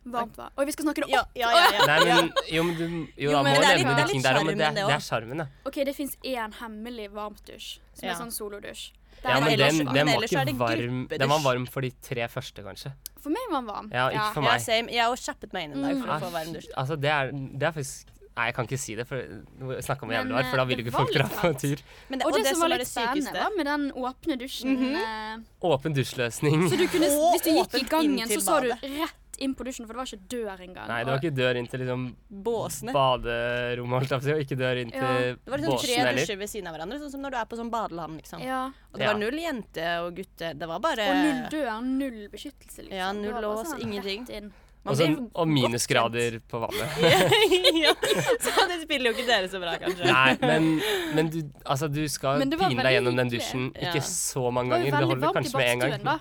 varmt vær. Oi, vi skal snakke det opp! Ja, ja, ja. ja. Nei, men jo, men du Jo, Jo, da må men du det er nevne litt- de det er ting litt der òg, men det sjarmen, er- det det også. er sjarmen, ja. OK, det fins én hemmelig varmtdusj, som Ja. er sånn solodusj. Der Ja, er men det den, ellers- den men var ellers er ikke det varm. Den var gruppedusj. varm for de tre første, kanskje. For meg var den varm. Ja, ikke for Ja, meg. same. Jeg har også kjappet meg inn i Mm. dag for å Nei, få varm dusj. Altså, det er, det er faktisk Nei, jeg kan ikke si det, for nå snakker vi om hvor jævlig det Men, var, for da eh, vil jo det ikke folk var dra litt på varmt. tur. Men Og, det som var var Mhm. litt spennende, var med den åpne dusjen. eh, Åpen dusjløsning. Så du kunne, Og hvis du gikk i åpent gangen, så inn til så du badet. rett inn på dusjen, for det var ikke dør engang. Nei, det var Og- ikke dør inn til liksom Båsene. baderommet, holdt jeg på å si, og ikke dør inn Ja, til Det var liksom båsen tre heller. dusjer ved siden av hverandre, sånn som når du er på sånn badeland, liksom. ja. Og det Ja. var null jente og gutte. Det var bare Og null dør, null beskyttelse, liksom. Eh. Ja, null Det var bare lås, sånn ingenting. rett inn. Og, så, og minusgrader på vannet. ja, så det spiller jo ikke dere så bra, kanskje. Nei, men, men du, altså, du skal Men det var pine veldig deg gjennom den dusjen hyggelig. ikke Ja. så mange Det var jo ganger. Det veldig holder varmt i kanskje med én badstuen, gang. da.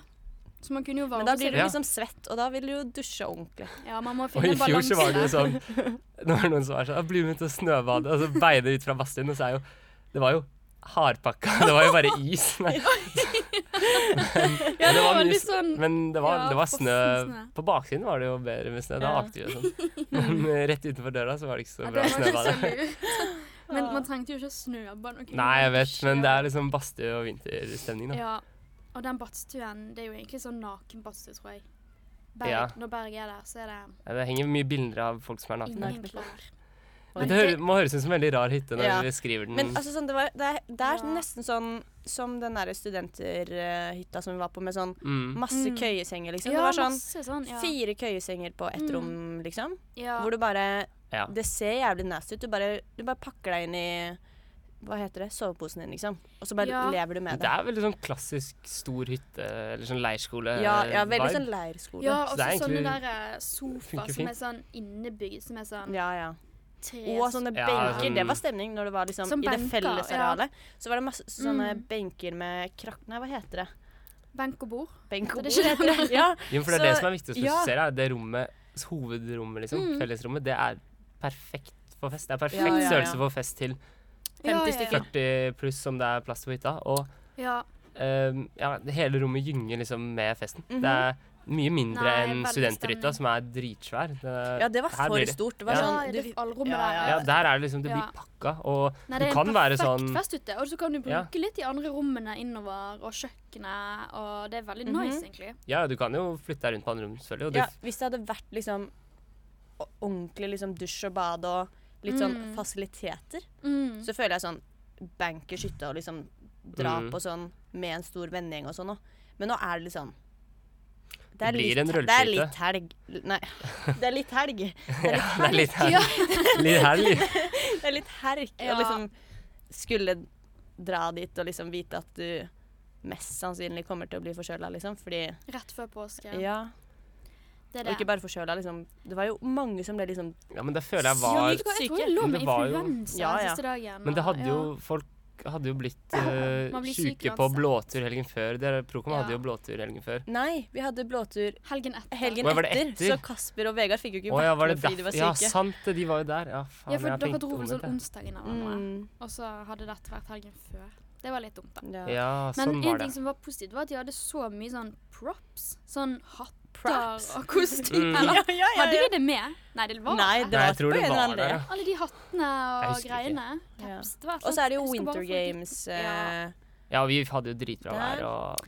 Så man kunne jo varme Men da blir du Ja. liksom svett, og da vil du jo dusje ordentlig. Ja, man må Og finne i en fjor balanse. så var det jo sånn Det var noen som var sånn «Ah, 'Bli med til å snøbade', og så beider de ut fra badstuen, og så er jo Det var jo hardpakka. Det var jo bare is. Nei. Ja, Men det var mye veldig s- sånn Men det var, ja, det var frossen snø snø. På baksiden var det jo bedre med snø. Da Ja. akte vi og sånn. Men eh, rett utenfor døra så var det ikke så Ja, bra det var ikke snøbade. så lurt. Men man trengte jo ikke snøbad. man kunne Nei, jeg bare vet, dusje men det og- er liksom badstue og vinterstemning, da. Ja, og den badstuen, det er jo egentlig sånn nakenbadstue, tror jeg. Berg, Ja. Når Berg er der, så er det Ja, Det henger mye bilder av folk som er nakne. ingen Nakne folk. klær. Men det hø- må høres ut som en veldig rar hytte når Ja. vi skriver den. Men altså, sånn, det, var, det er, det er Ja. nesten sånn som den der studenterhytta som vi var på, med sånn mm. masse Mm. køyesenger, liksom. det var sånn masse sånn, ja. fire køyesenger på ett Mm. rom, liksom. Ja. Hvor du bare Ja. Det ser jævlig nasty ut. Du bare, du bare pakker deg inn i hva heter det, soveposen din, liksom. Og så bare Ja. lever du med Det det. er veldig sånn klassisk stor hytte, eller sånn leirskole Ja, ja, veldig vibe. sånn leirskole. ja, Så og det så er sånne egentlig- der eh, sofa funker som er sånn innebygd, som er sånn ja, ja. tre Og sånne Ja, benker. sånn- Det var stemning når det var liksom, Som i det benker, fellesarealet. Så var det masse sånne Mm. benker med krakk... Nei, hva heter det? sånn benk og bord. Benk og Det er bord, ikke heter det. Ja. Jo, for det er Så- det som er viktig å ja. spesifisere. er Det rommet, hovedrommet, liksom, Mm. fellesrommet, det er perfekt for fest. Det er perfekt Ja, ja, ja. størrelse for fest til 50 Ja, 40 pluss som det er plass til på hytta. Og ja. ehm, ja, det hele rommet gynger liksom med festen. Mhm. Det er mye mindre Nei, enn veldig studenthytta, stemning. som er dritsvær. Det- ja, det var her blir for det. stort. Det ja. var ja. sånn, det du, allrommet ja, der. Ja, der er det liksom Det Ja. blir pakka, og Nei, du det er kan en være perfekt sånn fest ute, og så kan du bruke Ja. litt de andre rommene innover, og kjøkkenet, og det er veldig Mhm. nice, egentlig. Ja, du kan jo flytte deg rundt på andre rom, selvfølgelig. Og du, ja, hvis det hadde vært liksom o- ordentlig liksom, dusj og bad og litt sånn Mm. fasiliteter, Mm. så føler jeg sånn bankers hytte og liksom drap Mm. og sånn med en stor vennegjeng og sånn òg. Men nå er det litt sånn Det blir en Det er rølpehytte. litt helg Nei. Det er litt helg. Det er litt det er litt her. Ja. Litt helg. Det er litt herk å Ja. liksom skulle dra dit og liksom vite at du mest sannsynlig kommer til å bli forkjøla, liksom. Fordi Rett før påske. Ja. Det er det. Og ikke bare forkjøla, liksom. Det var jo mange som ble liksom Ja, men det føler jeg ja, var jeg tror jeg, syke. tror jeg lå med Det var jo- influensa Ja, ja. siste dagen. Men det og- hadde jo ja. Folk hadde jo blitt eh, Man blir syk syke på uansett. blåtur helgen før. Dere Procom hadde Ja. jo blåtur helgen før. Nei, vi hadde blåtur Helgen etter. helgen Åja, var etter, det etter? så Kasper og Vegard fikk jo ikke Å ja, var vært det med fordi de derfor? var Ja, syke. sant det, de var jo der. Ja, faen. Ja, for jeg har dere tenkt dro vel om sånn dette. onsdagen av hverandre. Mm, Og så hadde dette vært helgen før. Det var litt dumt, da. ja. Ja, Men sånn en var det. ting som var positivt, var at de hadde så mye sånn props. Sånn hatter Props? og kostymer. Mm. Eller ja, ja, hadde ja. de det med? Nei, det var Nei, det Nei, var jeg tror på det en eller var annen det, del. ja. Alle de hattene Jeg og husker ikke. greiene. Ja. Caps, det var et Og så er det jo slags- jeg husker bare Winter folk gikk- Games. Ja. eh, Ja, vi hadde jo dritbra Der. vær og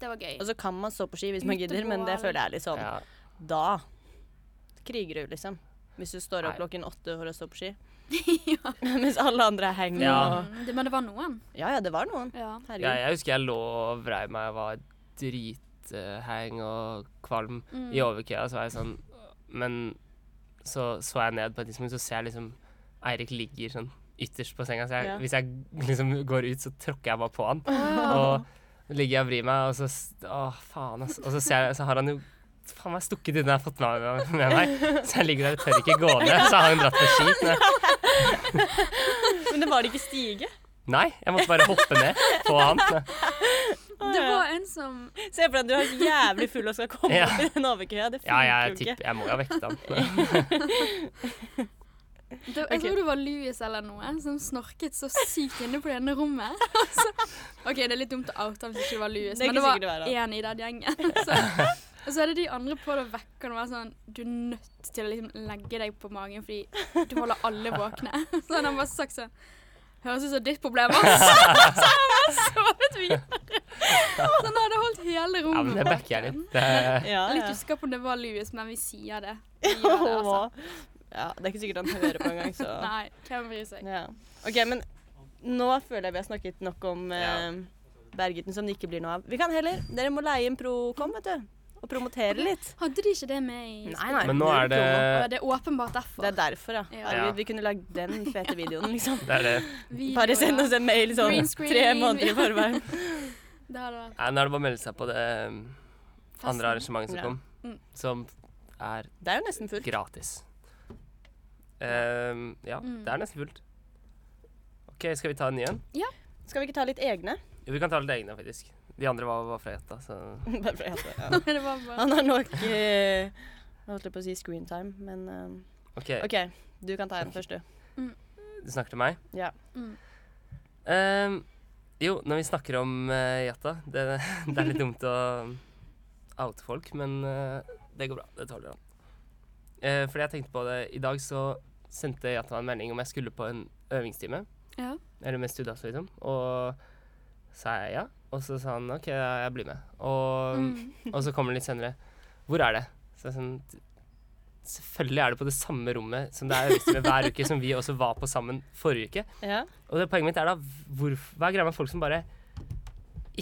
Det var gøy. Altså, Og så kan man stå på ski hvis man gidder, men det Utebål. føler jeg er litt sånn ja. Da kriger du, liksom. Hvis du står opp Nei. klokken åtte for å stå på ski. Mens alle andre er hengende Ja. og Mm, det, men det var noen. Ja ja, det var noen. Ja. Herregud. ja, Jeg husker jeg lå og vrei meg og var dritheng og kvalm Mm. i overkøya. Så var jeg sånn Men så så jeg ned på et tidspunkt, så ser jeg liksom Eirik ligger sånn ytterst på senga. Så jeg, Ja. hvis jeg liksom går ut, så tråkker jeg bare på han. Og ligger jeg og vrir meg, og så s- Å, faen, ass. Og så, ser jeg, så har han jo faen meg stukket unna jeg har fått med, meg- med meg. Så jeg ligger der og tør ikke gå ned. Så har han dratt på ski. Men- Men det var ikke stige. Nei, jeg måtte bare hoppe ned på han. Det var en som Se for deg at du er jævlig full og skal komme Ja. opp i den overkøya. Det Ja, funker jeg jo ikke. tipper Jeg må jo ha vekket han. det, Jeg tror det var Louis eller noe som snorket så sykt inne på det ene rommet. Så, OK, det er litt dumt å oute ham hvis ikke det var Louis, Det er men det ikke sikkert var det var han. én i den gjengen. Så, og så hadde de andre på det og vekket han og var sånn Du er nødt til å liksom legge deg på magen fordi du holder alle våkne. Så hadde han bare sagt sånn Høres ut som ditt problem, ass. Så hadde han bare sovet videre. Så han hadde holdt hele Ja, rommet. men det backer jeg litt. Det, Ja, Jeg er ja. litt usikker på om det var Louis, men vi sier det. Vi gjør det altså. ja, det er ikke sikkert han hører på engang, så Nei, hvem bryr seg? ja. OK, men nå føler jeg vi har snakket nok om eh, Berghytten som det ikke blir noe av. Vi kan heller Dere må leie en Procom, vet du. Og promotere litt. Hadde de ikke det med i nei. men nå er det Ja, det er åpenbart derfor. Det er derfor, ja. Ja. Herregud, vi kunne lagd den fete videoen, liksom. det, er det. Video, Bare send ja. oss en mail sånn Green screen. tre måneder i forveien. Det hadde vært Nei, nå er det bare å melde seg på det um, festen. andre arrangementet som Ja. kom, Mm. som er Det er jo nesten fullt. gratis. Um, ja, Mm. det er nesten fullt. OK, skal vi ta en ny en? Skal vi ikke ta litt egne? Jo, vi kan ta litt egne, faktisk. De andre var, var fra Jetta, så Bare for å hjelpe. Ja. Det var bare Han har nok eh, Jeg holdt på å si screen time, men eh, OK, OK. Du kan ta en først, du. du snakker til meg? Ja. Mm. Um, jo, når vi snakker om eh, Jetta det, det er litt dumt å oute folk, men eh, det går bra. Det tåler han. Eh, fordi jeg tenkte på det I dag så sendte Jetta meg en melding om jeg skulle på en øvingstime. Ja. Eller med studenter, liksom. Og sa jeg ja. Og så sa han OK, jeg blir med. Og, Mm. og så kommer det litt senere. Hvor er det? Så jeg sånn Selvfølgelig er det på det samme rommet som det er øvingstime hver uke, som vi også var på sammen forrige uke. ja. Og det poenget mitt er da hvor, Hva er greia med folk som bare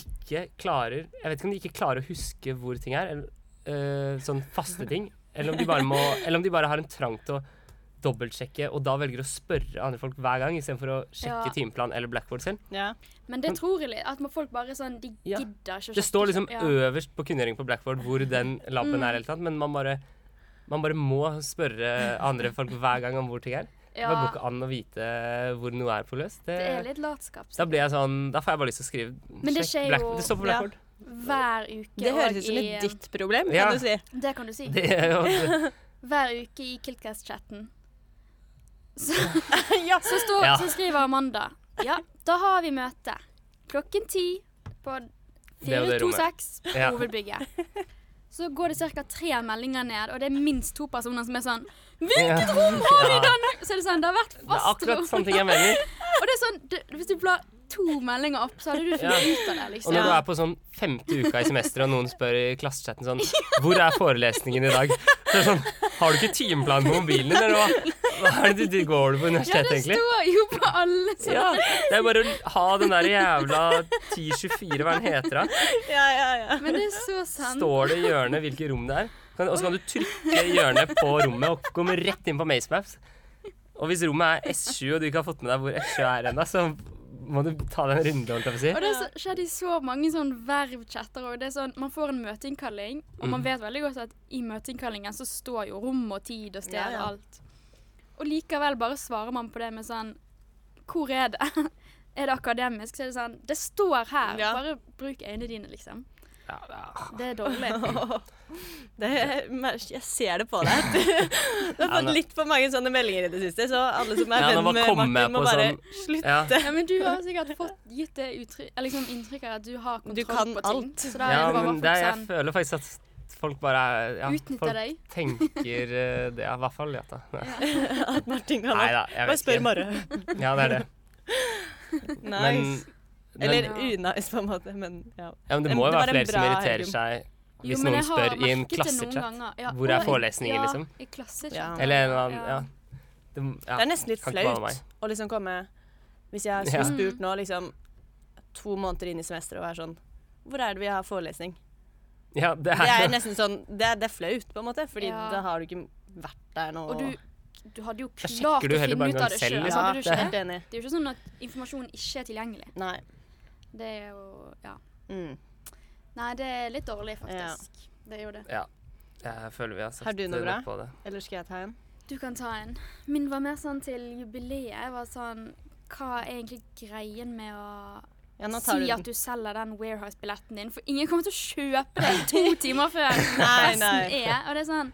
ikke klarer Jeg vet ikke om de ikke klarer å huske hvor ting er, eller, øh, sånn faste ting. Eller om, de bare må, eller om de bare har en trang til å dobbeltsjekke, og da velger å spørre andre folk hver gang istedenfor å sjekke Ja. timeplan eller blackboard selv. Ja. Men um, det tror jeg litt. At man- folk bare sånn De Ja. gidder ikke å Det sjekke står liksom selv. ja. Mm. øverst på kunngjøring på blackboard hvor den lappen er, eller noe sånt, men man bare, man bare må spørre andre folk hver gang om hvor ting er. Det bare går Ja. ikke an å vite hvor noe er på løs. Det, Det er litt latskap. Da sikkert. blir jeg sånn Da får jeg bare lyst til å skrive Men det sjekk skjer Black- jo- Det står på Ja. blackboard. Hver uke Det høres og ut som i- um, litt ditt problem, Ja. kan du si. Det kan du si. Det er jo Hver uke i Kiltcast-chatten. Så, Ja. så, står, Ja. så skriver Amanda Ja, da har vi møte. Klokken ti på Det og det rommet. 426 på Ja. hovedbygget. Så går det ca. tre meldinger ned, og det er minst to personer som er sånn Hvilket rom har vi den? Så er det sånn, det har vært Det er fast akkurat rom. sånne ting jeg mener. Og det er sånn, du, hvis du blar to meldinger opp, så hadde du funnet ut av det, Og liksom. når du Ja. er på sånn femte uka i semesteret, og noen spør i klassechatten sånn Hvor er forelesningen i dag? Så er det sånn Har du ikke timeplan på mobilen din, eller hva? Hva er det du, du går du på Ja, universitetet, det egentlig? står jo på alle sånne. Ja, det er bare å ha den der jævla 1024, hva den heter da. Ja, ja, ja. Men det er så sant. Står det i hjørnet hvilket rom det er? Kan- Og så kan du trykke i hjørnet på rommet og komme rett inn på Maze Maps. Og hvis rommet er S7, og du ikke har fått med deg hvor S7 er ennå, så må du ta deg en runde, holdt jeg på å si. Og det har skjedd i så mange sånn vervchatter òg. Sånn, man får en møteinnkalling, og man Mm. vet veldig godt at i møteinnkallingen så står jo rom og tid og sted Ja, og ja. alt. Og likevel bare svarer man på det med sånn Hvor er det? er det akademisk? Så er det sånn Det står her! Ja. Bare bruk øynene dine, liksom. Ja, ja. Det er dårlig. Det, jeg ser det på deg. Du, du har Ja, fått nå- litt for mange sånne meldinger i det siste, så alle som er Ja, nå venn bare med kommer jeg Martin, må på bare sånn- slutte. Ja. Ja, men du har sikkert fått gitt det uttrykk, eller liksom inntrykk av at du har kontroll Du kan på ting. alt. Så da er ja, det bare men å det, er- folk jeg sånn føler faktisk at folk bare er- ja, Utnytter folk deg. tenker eh, det, ja, i hvert fall Jata. At Martin kan Nei da, alt. jeg Bare vet spør ikke. Marre. Ja, det er det. Men, Nice. men, Eller ja, unice, på en måte, men ja. men det det må jo var være en flere som bra irriterer argum. seg Jo, hvis men noen jeg har spør i en merket det noen klassechat. ganger. Ja, Hvor er og- forelesningen, ja, liksom? I klassechat. Ja. Eller en eller annen Ja. Det, ja. Det er nesten litt kan ikke være flaut å liksom komme Hvis jeg Ja. skulle spurt nå, liksom to måneder inn i semesteret og være sånn Hvor er det vi har forelesning? ja, det Det er er nesten sånn Det er, det er flaut, på en måte, fordi Ja. da har du ikke vært der nå. Og du, du hadde jo Da sjekker klart du å heller bare finne ut en gang av det selv, sjøl. liksom. ja, hadde du det er ikke helt det? enig. Det er jo ikke sånn at informasjon ikke er tilgjengelig. Nei. Det er jo Ja. Mm. Nei, det er litt dårlig, faktisk. Det er jo det. Jeg føler vi har sett Har du noe eh, bra? nok på det. Eller skal jeg ta en? Du kan ta en. Min var mer sånn til jubileet. Jeg var sånn Hva er egentlig greien med å Ja, nå tar si du at den. du selger den Warehouse-billetten din? For ingen kommer til å kjøpe deg to timer før Nei, festen nei. er. Og det er sånn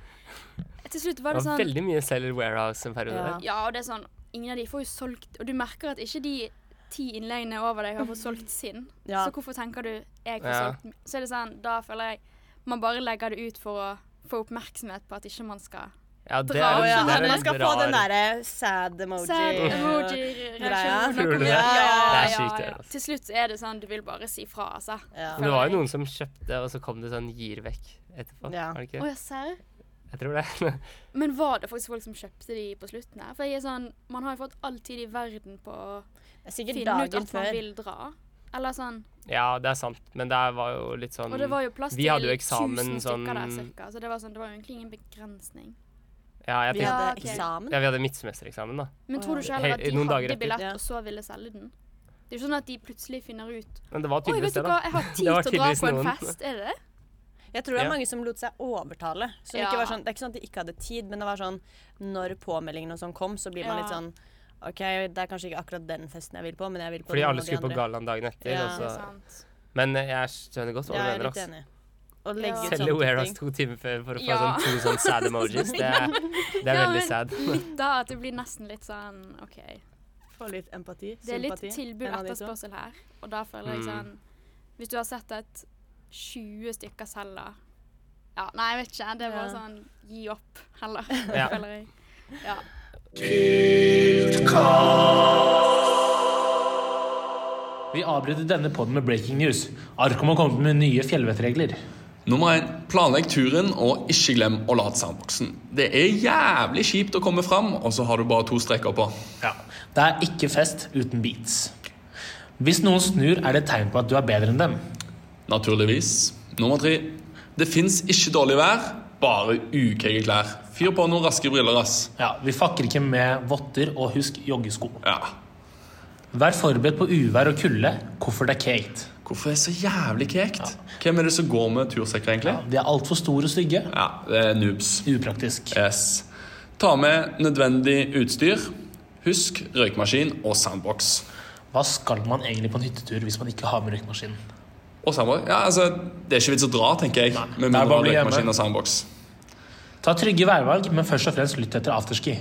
Til slutt var Det det var sånn veldig mye Selger Warehouse en periode Ja. der. Ja, og det er sånn, ingen av de får jo solgt, og du merker at ikke de ti innleggene over deg har fått solgt sin. Ja. Så hvorfor tenker du, jeg får Ja. solgt, min? så er det sånn, da føler jeg, man bare legger det ut for å få oppmerksomhet på at ikke man skal. Ja, det Dra- er, Å ja, det er en man skal få rar- den derre sad emoji. Sad emoji Greia. Tror reaksjoner du kommer. det? Ja, ja, Det er ja, sykt, det, ja. altså. Til slutt er det sånn, du vil bare si fra, altså. Ja. Men det var jo noen som kjøpte, og så kom det sånn gir vekk etterpå. eh. Ja. Var det ikke? Åja, serr? det? Jeg tror det. Men var det faktisk folk som kjøpte de på slutten her? For jeg er sånn, man har jo fått all tid i verden på å Det er Sikkert finne ut dagen at man før. vil dra. Eller sånn, Ja, det er sant, men det var jo litt sånn Og det var jo plass Vi til hadde jo eksamen 1000 sånn- stykker der cirka, så det var, sånn, det var jo egentlig ingen begrensning. Ja, jeg Vi tenkte, hadde Ja, ok. eksamen. ja, vi hadde midtsemestereksamen, da. Men tror du ikke Hei, heller at de noen dager hadde etter. billett Ja. og så ville selge den? Det er jo ikke sånn at de plutselig finner ut Men det var Oi, tydeligvis vet du det, da. hva, jeg har tid Det var til å dra tydeligvis på en noen. fest. Er det det? Jeg tror det Ja. er mange som lot seg overtale. Som Ja. ikke var sånn, det er ikke sånn at de ikke hadde tid, men det var sånn når påmeldingen og sånn kom, så blir man Ja. litt sånn OK, det er kanskje ikke akkurat den festen jeg vil på, men jeg vil på Fordi den alle og de skulle på andre. gallaen dagen etter. Ja. og Det er så. sant. Men jeg skjønner godt hva du Ja, jeg er mener. litt ass. enig. Å Ja. legge ut Selge sånne Warehouse ting. to timer før for å få Ja. sånn to sånn sad emojis. Det, er- det er Ja, veldig men- sad. Da at det blir nesten litt sånn OK. Få litt empati. Det er litt sympati, tilbud en av de to. etterspørsel her, og da føler jeg Mm. sånn Hvis du har sett at 20 stykker selger Ja, nei, jeg vet ikke. Det er bare Ja. sånn Gi opp, heller, Ja. føler jeg. Ja. Vi avbryter denne podden med breaking news. Arkom har kommet med nye fjellvettregler. Nummer én planlegg turen, og ikke glem å lade sandboksen. Det er jævlig kjipt å komme fram, og så har du bare to streker på. Ja. Det er ikke fest uten beats. Hvis noen snur, er det et tegn på at du er bedre enn dem. Naturligvis. Nummer tre det fins ikke dårlig vær, bare ukeige klær. Fyr på noen raske briller, ass. Ja, Vi fucker ikke med votter, og husk joggesko. Ja. Vær forberedt på uvær og kulde. Koffert er caked. Hvorfor er det så jævlig kekt? Hvem er det som går med tursekker, egentlig? De er altfor store og stygge. Ja, det er noobs. Upraktisk. Yes. Ta med nødvendig utstyr. Husk røykmaskin og sandbox. Hva skal man egentlig på en hyttetur hvis man ikke har med røykmaskin? Og sandbox. Ja, altså, det er ikke vits å dra, tenker jeg. Med det er mindre bare å du bli har hjemme. røykmaskin og sandbox. Ta trygge værvalg, men først og fremst lytt etter afterski.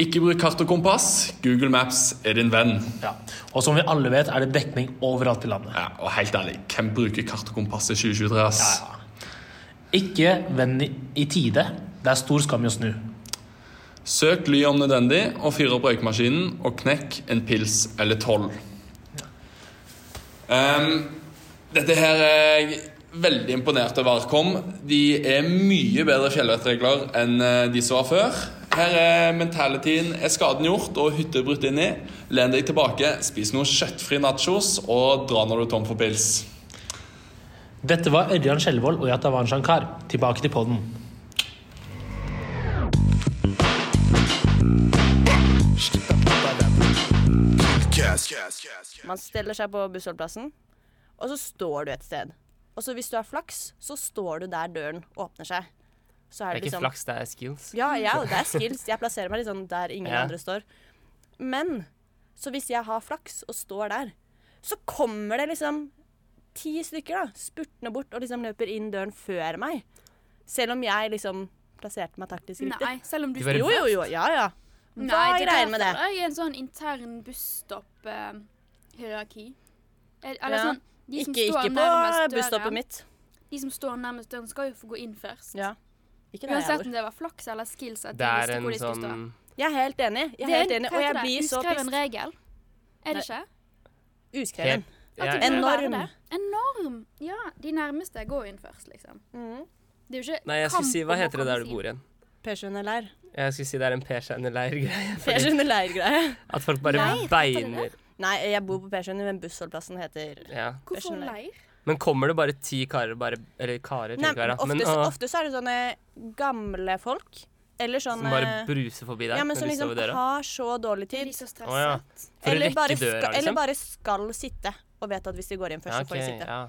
Ikke bruk kart og kompass. Google Maps er din venn. Ja. Og som vi alle vet, er det dekning overalt i landet. Ja, og helt ærlig, hvem bruker kart og kompass i 2023? ass? Ja, Ikke vend i, i tide. Det er stor skam i å snu. Søk ly om nødvendig, og fyr opp røykmaskinen, og knekk en pils eller tolv. Ehm, dette her er jeg veldig imponert over Arkom. De er mye bedre fjellvettregler enn eh, de som var før. Her er mentalityen er skaden gjort og hytte brutt inn i. Len deg tilbake, spis noen kjøttfri nachos, og dra når du er tom for pils. Dette var Ørjan Skjelvold og Yatavan Shankar. Tilbake til podden. Yeah. Man steller seg på bussholdeplassen, og så står du et sted. Og så hvis du har flaks, så står du der døren åpner seg. Så Det er er det ikke liksom flaks, det er skills. Ja, ja, det er skills. Jeg plasserer meg litt sånn der ingen Ja. andre står. Men så hvis jeg har flaks og står der, så kommer det liksom ti stykker da, spurtende bort og liksom løper inn døren før meg. Selv om jeg liksom plasserte meg taktisk riktig. Nei, selv om du De var- Jo, jo, jo. Ja, ja. Hva Nei, er greia med det? derfor Jeg er en sånn intern busstopp-hierarki. Eller Ja. sånn de som Ikke, står ikke på nærmest døren- busstoppet mitt. De som står nærmest døren, skal jo få gå inn først. Ja. Ikke der jeg Uansett bor. om det var flaks eller skills. At Det de er visste en hvor de skulle sånn stå. Jeg er helt enig. Jeg Det er er helt en- enig. hva Og heter jeg det? blir så Uskreven pissed. regel. Er det ikke? Uskreven. Ja, det må være det. Enorm. Enorm! Ja, de nærmeste går inn først, liksom. Mhm. Det er jo ikke Nei, jeg skulle kamp si Hva om å heter det der komme du seg bor igjen? Persjøen leir. Jeg skulle si det er en Persjøen-leir-greie. fordi Persjøen leir-greie. At folk bare Leir, heter det beiner Nei, jeg bor på Persjøen, men bussholdeplassen heter ja. inn. Hvorfor Skjønner. leir? Men kommer det bare ti karer bare Eller karer, Nei, tenker jeg da. ofte, Men, så- å, ofte så er det sånne gamle folk. Eller som bare sånne bruser forbi der. sånn, eh, ja, men når som de står liksom ved døra. har så dårlig Er tid. de så stresset? Å ja. For å Eller rekke bare, døra, ska, eller liksom? bare skal sitte og vet at hvis de går inn først, Ja, så får de ok, sitte. ja.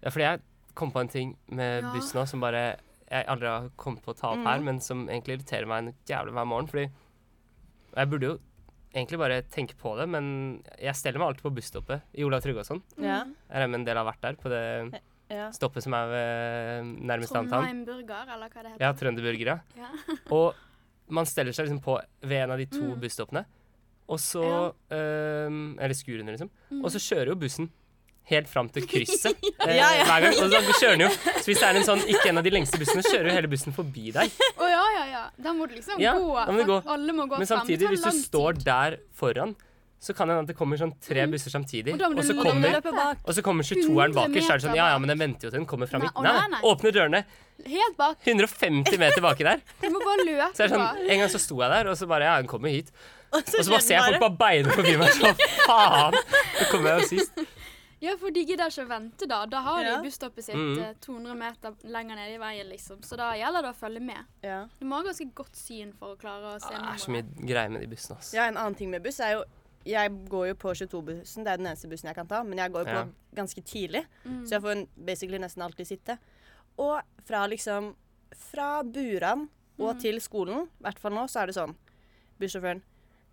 ja, fordi jeg kom på en ting med Ja. bussen nå som bare jeg aldri har kommet på å ta opp Mm. her, men som egentlig irriterer meg en jævlig hver morgen. Fordi og Jeg burde jo egentlig bare tenke på det, men jeg steller meg alltid på busstoppet i Olav Tryggvason. Ja. sånn. Jeg regner med en del har vært der, på det Ja. stoppet som er ved nærmest antann. Trondheim burger, eller hva det heter. Ja, trønderburgere. Ja. Og man steller seg liksom på ved en av de to Mm. busstoppene, og så øhm, Eller skurene, liksom. Mm. Og så kjører jo bussen helt fram til krysset eh, Ja, ja. hver gang. Og så kjører den jo Så hvis det er en sånn ikke en av de lengste bussene, kjører jo hele bussen forbi deg. Å ja, ja, ja. Da må du liksom Ja, gå. da må du for gå. Alle må gå Men frem. Det samtidig, tar hvis du lang står tid. der foran, så kan det hende at det kommer sånn tre busser samtidig, Og da må og du så løpe. kommer Løpe bak. og så kommer 22-eren 100 bakerst, så er det sånn meter Ja ja, bak. men den venter jo til den kommer fra Nei, midten. å, Nei, nei, nei, nei. åpner dørene. Helt bak. 150 meter baki der. Du må bare løpe. Så er det bak. sånn, En gang så sto jeg der, og så bare Ja, den kommer hit. Og Og så bare ser jeg folk bare beine forbi meg sånn. Faen! Så kommer jeg jo sist. Ja, for de gidder ikke å vente da. Da har Ja. de busstoppet sitt Mhm. eh, 200 meter lenger nede i veien, liksom. Så da gjelder det å følge med. Ja. Du må ha ganske godt syn for å klare å se Det er Ah, så nummeret. mye greier med de bussene, ass. ja, en annen ting med buss er jo Jeg går jo på 22-bussen, det er den eneste bussen jeg kan ta, men jeg går jo på Ja. ganske tidlig, Mm. så jeg får en- basically nesten alltid sitte. Og fra liksom Fra Buran og Mm. til skolen, i hvert fall nå, så er det sånn Bussjåføren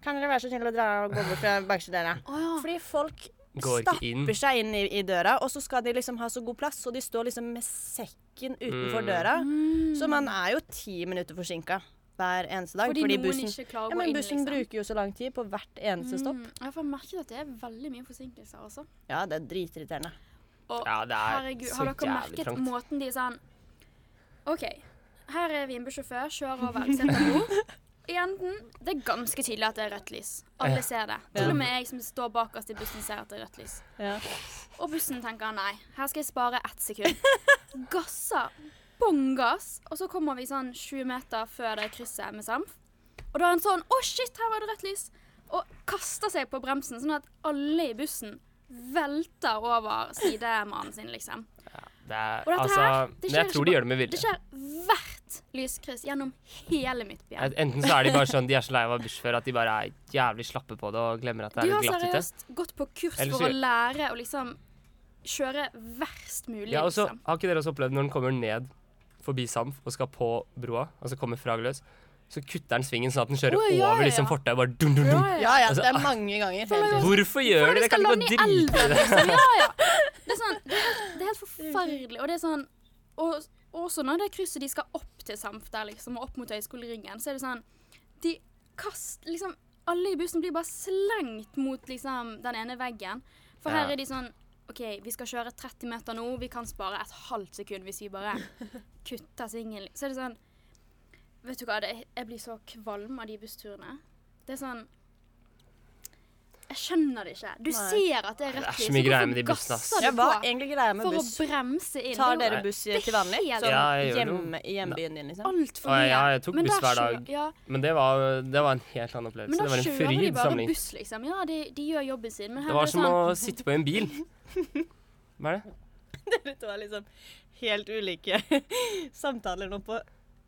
Kan dere være så snill å dra og gå bort fra bakerste døra? Å ja. Fordi folk Går ikke inn. stapper seg inn i, i døra, og så skal de liksom ha så god plass, så de står liksom med sekken utenfor Mm. døra. Mm. Så man er jo ti minutter forsinka hver eneste dag. Fordi, Fordi, noen bussen, ikke klarer å ja, gå men inn, bussen liksom. bruker jo så lang tid på hvert eneste stopp. Mm, jeg får merket at det er veldig mye forsinkelser også. Ja, det er dritirriterende. Og Ja, det er herregud, så har dere jævlig merket trangt. måten de sånn OK, her er vi en bussjåfør, kjører over setter bord. I enden Det er ganske tydelig at det er rødt lys. Ja. Alle ser det. Til og med jeg som står bakerst i bussen, ser at det er rødt lys. Ja. Og bussen tenker nei, her skal jeg spare ett sekund. Gasser. Bongass. Og så kommer vi sånn 20 meter før det krysset med Samf. Og da er han sånn Å, shit, her var det rødt lys. Og kaster seg på bremsen, sånn at alle i bussen velter over sidemannen sin, liksom. Det er, Og dette altså, her, det men skjer jeg tror ikke de bare- gjør det med Det vilje. skjer hvert lyskryss gjennom hele Midtbyen. Enten så er de bare sånn, de er så lei av å være bussjåfør at de bare er jævlig slappe på det og glemmer at det De er har litt glatt ute. seriøst gått på kurs Ellers for å gjør- lære å liksom kjøre verst mulig, Ja, og så liksom. Har ikke dere også opplevd når den kommer ned forbi Samf og skal på broa, altså kommer fra Gløs, så kutter den svingen sånn at den kjører Å, ja, over ja, liksom ja. fortauet og bare dun, dun, dun. Ja, ja, Altså, det er mange ganger. For hele tiden. Hvorfor gjør Hvordan dere det? skal Kan lande i dere ikke bare drite i elven, det? liksom? Ja, ja. Det er, sånn, det er, helt, det er helt forferdelig. Og det er sånn Og også når det krysset de skal opp til Samf der, liksom, og opp mot Høgskoleringen, så er det sånn De kast... Liksom, alle i bussen blir bare slengt mot liksom den ene veggen. For her Ja. er de sånn OK, vi skal kjøre 30 meter nå, vi kan spare et halvt sekund hvis vi bare kutter svingen. Så er det sånn Vet du hva, det, jeg blir så kvalm av de bussturene. Det er sånn Jeg skjønner det ikke. Du ser at det er rødt Det er så lys, mye hvorfor greier med de bussene, ass. gasser du Ja, hva på er egentlig greia med For å buss? bremse inn. Det Tar er dere jo buss til vanlig? helt- Sånn Ja, jeg gjør det jo. hjemme, i hjembyen din, liksom? altfor Å, mye. ja, jeg tok Men buss da hver dag. kjø- Ja, Men det var, det var en helt annen men opplevelse. da Det var en kjører de fryd bare samling. buss, liksom. Ja, de, de gjør jobben sin, men her Det var er det som sånn å sitte på en bil. Hva er det? Det var liksom helt ulike samtaler nå på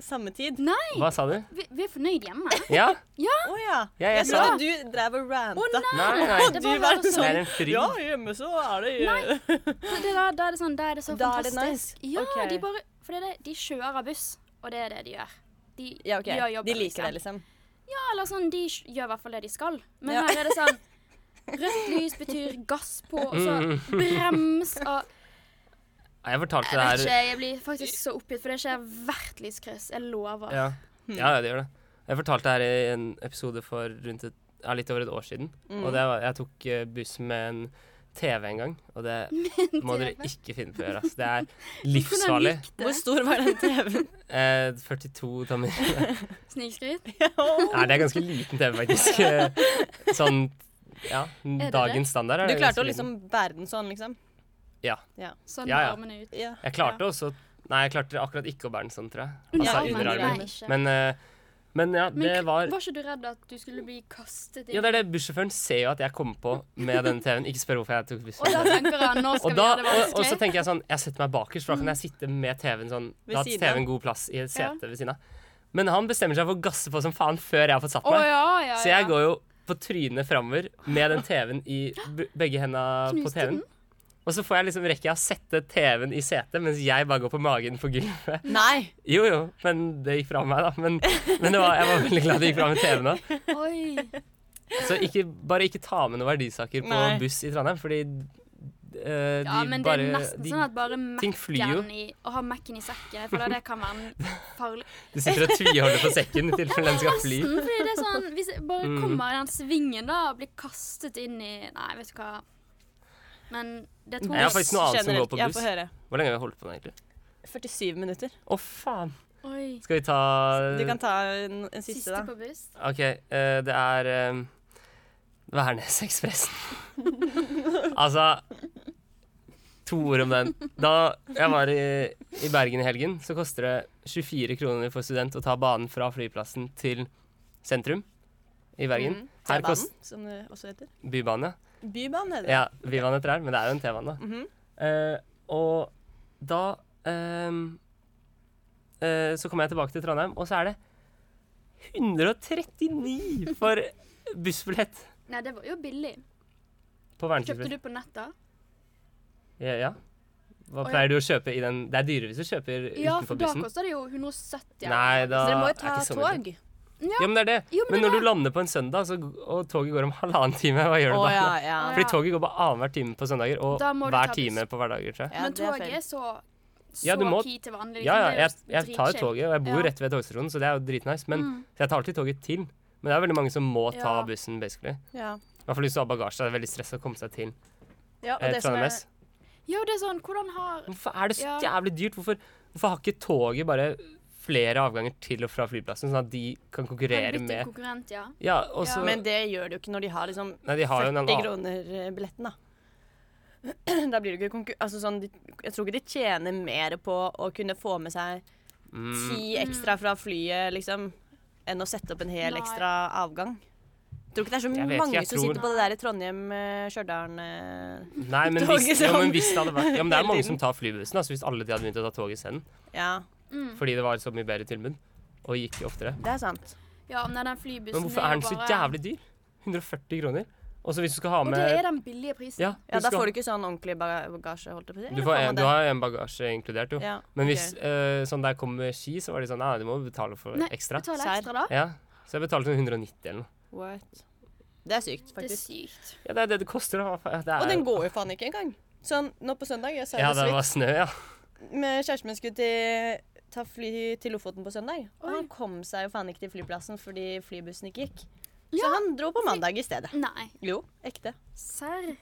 samme tid? Nei! Hva sa du? Vi, vi er fornøyd hjemme. Ja? Å ja. Ja, jeg Jeg sa trodde du drev og ranta. Nei, nei. Det Du var var bare sånn- Det er en fryd. Ja, hjemme så er det Det- det Da da er det sånn, da er det så Da er det fantastisk. nice. Ja, Ok. de bare For det er det, de kjører buss, og det er det de gjør. De Ja, ok. gjør jobben. De liker det, liksom. Ja, eller sånn, de kj- gjør i hvert fall det de skal. Men Ja. her er det sånn Rødt lys betyr gass på, og så brems og Nei, Jeg fortalte Jeg vet Mm. det her ikke, jeg blir faktisk så oppgitt, for det skjer hvert lyskryss. Jeg lover. ja. ja, ja, det gjør det. Jeg fortalte det her i en episode for rundt et, ja, litt over et år siden. Og det var, jeg tok eh, buss med en TV en gang, og det må dere TV? ikke finne på å gjøre. ass. Det er Hvordan livsfarlig. gikk Hvor det? stor var den TV-en? Eh, 42 tommer. Snikskryt? Nei, det er ganske liten TV, faktisk. Eh, Sånn ja, det det? dagens standard er Du det ganske klarte å liksom bære den sånn, liksom? Sånn Ja, med ja. armene ut. Ja. liten. Jeg klarte også Nei, jeg klarte akkurat ikke å bære den sånn, tror jeg. Under Altså armene, under nei, armen. ikke. Men, eh, men ja, Men det k- var Var ikke du redd at du skulle bli kastet inn? Ja, det er det. Bussjåføren ser jo at jeg kommer på med den TV-en. Ikke spør hvorfor jeg tok Og da bussjåføren. tenker jeg nå Og, skal da, vi gjøre det og, og så vanskelig. tenker jeg sånn Jeg setter meg bakerst, for da kan jeg sitte med TV-en sånn Ved Da har siden av. TV-en god plass i et sete ved siden av. Men han bestemmer seg for å gasse på som faen før jeg har fått satt Å meg. ja, ja, Så jeg går jo på trynet framover med den TV-en i b begge henda på Knuste TV-en. den? Og så får jeg liksom rekke å sette TV-en i setet mens jeg bare går på magen på gulvet. Nei! Jo jo, men det gikk fra meg, da. Men, men det var, jeg var veldig glad det gikk fra med TV-en òg. ja. Oi. Så ikke, bare ikke ta med noen verdisaker på Nei. buss i Trondheim, fordi eh, de Ja, men det bare er nesten de, sånn at bare ting flyr jo. Mac-en i Å ha Mac-en i sekken, jeg føler det kan være en farlig Du sitter og tviholder på sekken i tilfelle den skal fly. Nesten, fordi det er sånn Hvis jeg bare Mm. kommer i den svingen da og blir kastet inn i Nei, vet du hva. Men det tror Jeg har jeg faktisk noe annet som går Generelt. på Ja, buss. få høre. Hvor lenge har vi holdt på nå, egentlig? 47 minutter. Å, faen. Oi. Skal vi ta Eh, Du kan ta en, en siste, Siste da. på buss. OK, eh, det er eh, Værnesekspressen. altså To ord om den. Da jeg var i, i Bergen i helgen, så koster det 24 kroner for student å ta banen fra flyplassen til sentrum i Bergen. Her T-banen, kost- som det også heter. Bybanen, ja. Bybanen heter det. Ja, Vivan heter det her, men det er jo en T-bane, da. Mhm. Eh, og da ehm, eh, Så kommer jeg tilbake til Trondheim, og så er det 139 for bussbillett Nei, det var jo billig. på Kjøpte verdensbussbillett. du på nett, da? Ja, ja. Hva Å, ja. pleier du å kjøpe i den Det er dyrere hvis du kjøper Ja, utenfor for da bussen. koster det jo 170. eller Nei, noe. da Dere må er jo ta ikke så mye. tog. Ja, men det er det. Jo, men men når det du lander på en søndag, så, g- og toget går om halvannen time, hva gjør du Å da? ja, ja. Å, ja. Fordi toget går bare annenhver time på søndager, og Da må du ta hver buss. time på hverdager, tror jeg. ja Men det er toget feil. er så så Ja, du må- key til vanlig. Ja, ja, liksom. jeg, Det er jeg tar jo dritchill. toget, og jeg bor Ja. rett ved togstasjonen, så det er jo dritnice. Men Mm. så jeg tar alltid toget til. Men det er veldig mange som må ta Ja. bussen, basically. Ja. I hvert fall hvis du har bagasje. Det er veldig stress å komme seg til Ja, og eh, det som Trondheim er, S. Ja, det er sånn, hvordan har Hvorfor er det så Ja. jævlig dyrt? Hvorfor, hvorfor har ikke toget bare flere avganger til og fra flyplassen, sånn at de kan Han konkurrere blitt en med konkurrent, ja. Ja, og så men det gjør det jo ikke når de har liksom Nei, de har jo en 40 annen kroner-billetten, da. Da blir det ikke konkur... Altså sånn, de, jeg tror ikke de tjener mer på å kunne få med seg mm, ti ekstra fra flyet, liksom, enn å sette opp en hel Nei. ekstra avgang. Jeg tror ikke det er så Jeg vet ikke, mange jeg som tror- sitter på det der i Trondheim, eh, Stjørdal eh, Nei, men Toget hvis, ja, som- men hvis det hadde vært Ja, men det er hele mange som tiden. tar flybussen, altså hvis alle de hadde begynt å ta toget isteden. Ja, Fordi det var så mye bedre tilbud, og gikk oftere. det er sant. Ja, men den flybussen Men hvorfor jo er den så bare- jævlig dyr? 140 kroner. Og så hvis du skal ha Og med det er den billige prisen. ja, Ja, du Da skal- får du ikke sånn ordentlig baga- bagasje, holdt jeg på å si. du, eller får man en, du det? har jo en bagasje inkludert, jo. ja, Men ok. hvis eh, sånn der kom med ski, så var de sånn Nei, du må betale for Nei, ekstra. Betaler Sær. ekstra, da? Ja. Så jeg betalte sånn 190 eller noe. What? Det er sykt, Det er faktisk. sykt. Ja, det er det det koster, da. Hva faen? Det er, Og den går jo faen ikke engang. Sånn, nå på søndag Jeg sa Ja, det så det vidt. var snø, ja. med kjæresten min skulle til, ta fly til Lofoten på søndag. Og Oi. han kom seg jo faen ikke til flyplassen fordi flybussen ikke gikk. Så Ja. han dro på mandag i stedet. Nei. Jo, ekte. Serr.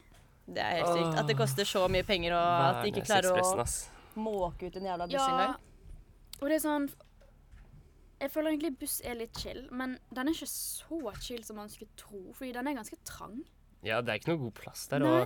Det er helt sykt. At det koster så mye penger, og at de ikke klarer Værnesekspressen, å ass. måke ut en jævla buss Ja. engang. Og det er sånn Jeg føler egentlig buss er litt chill, men den er ikke så chill som man skulle tro, fordi den er ganske trang. Ja, det er ikke noe god plass der, og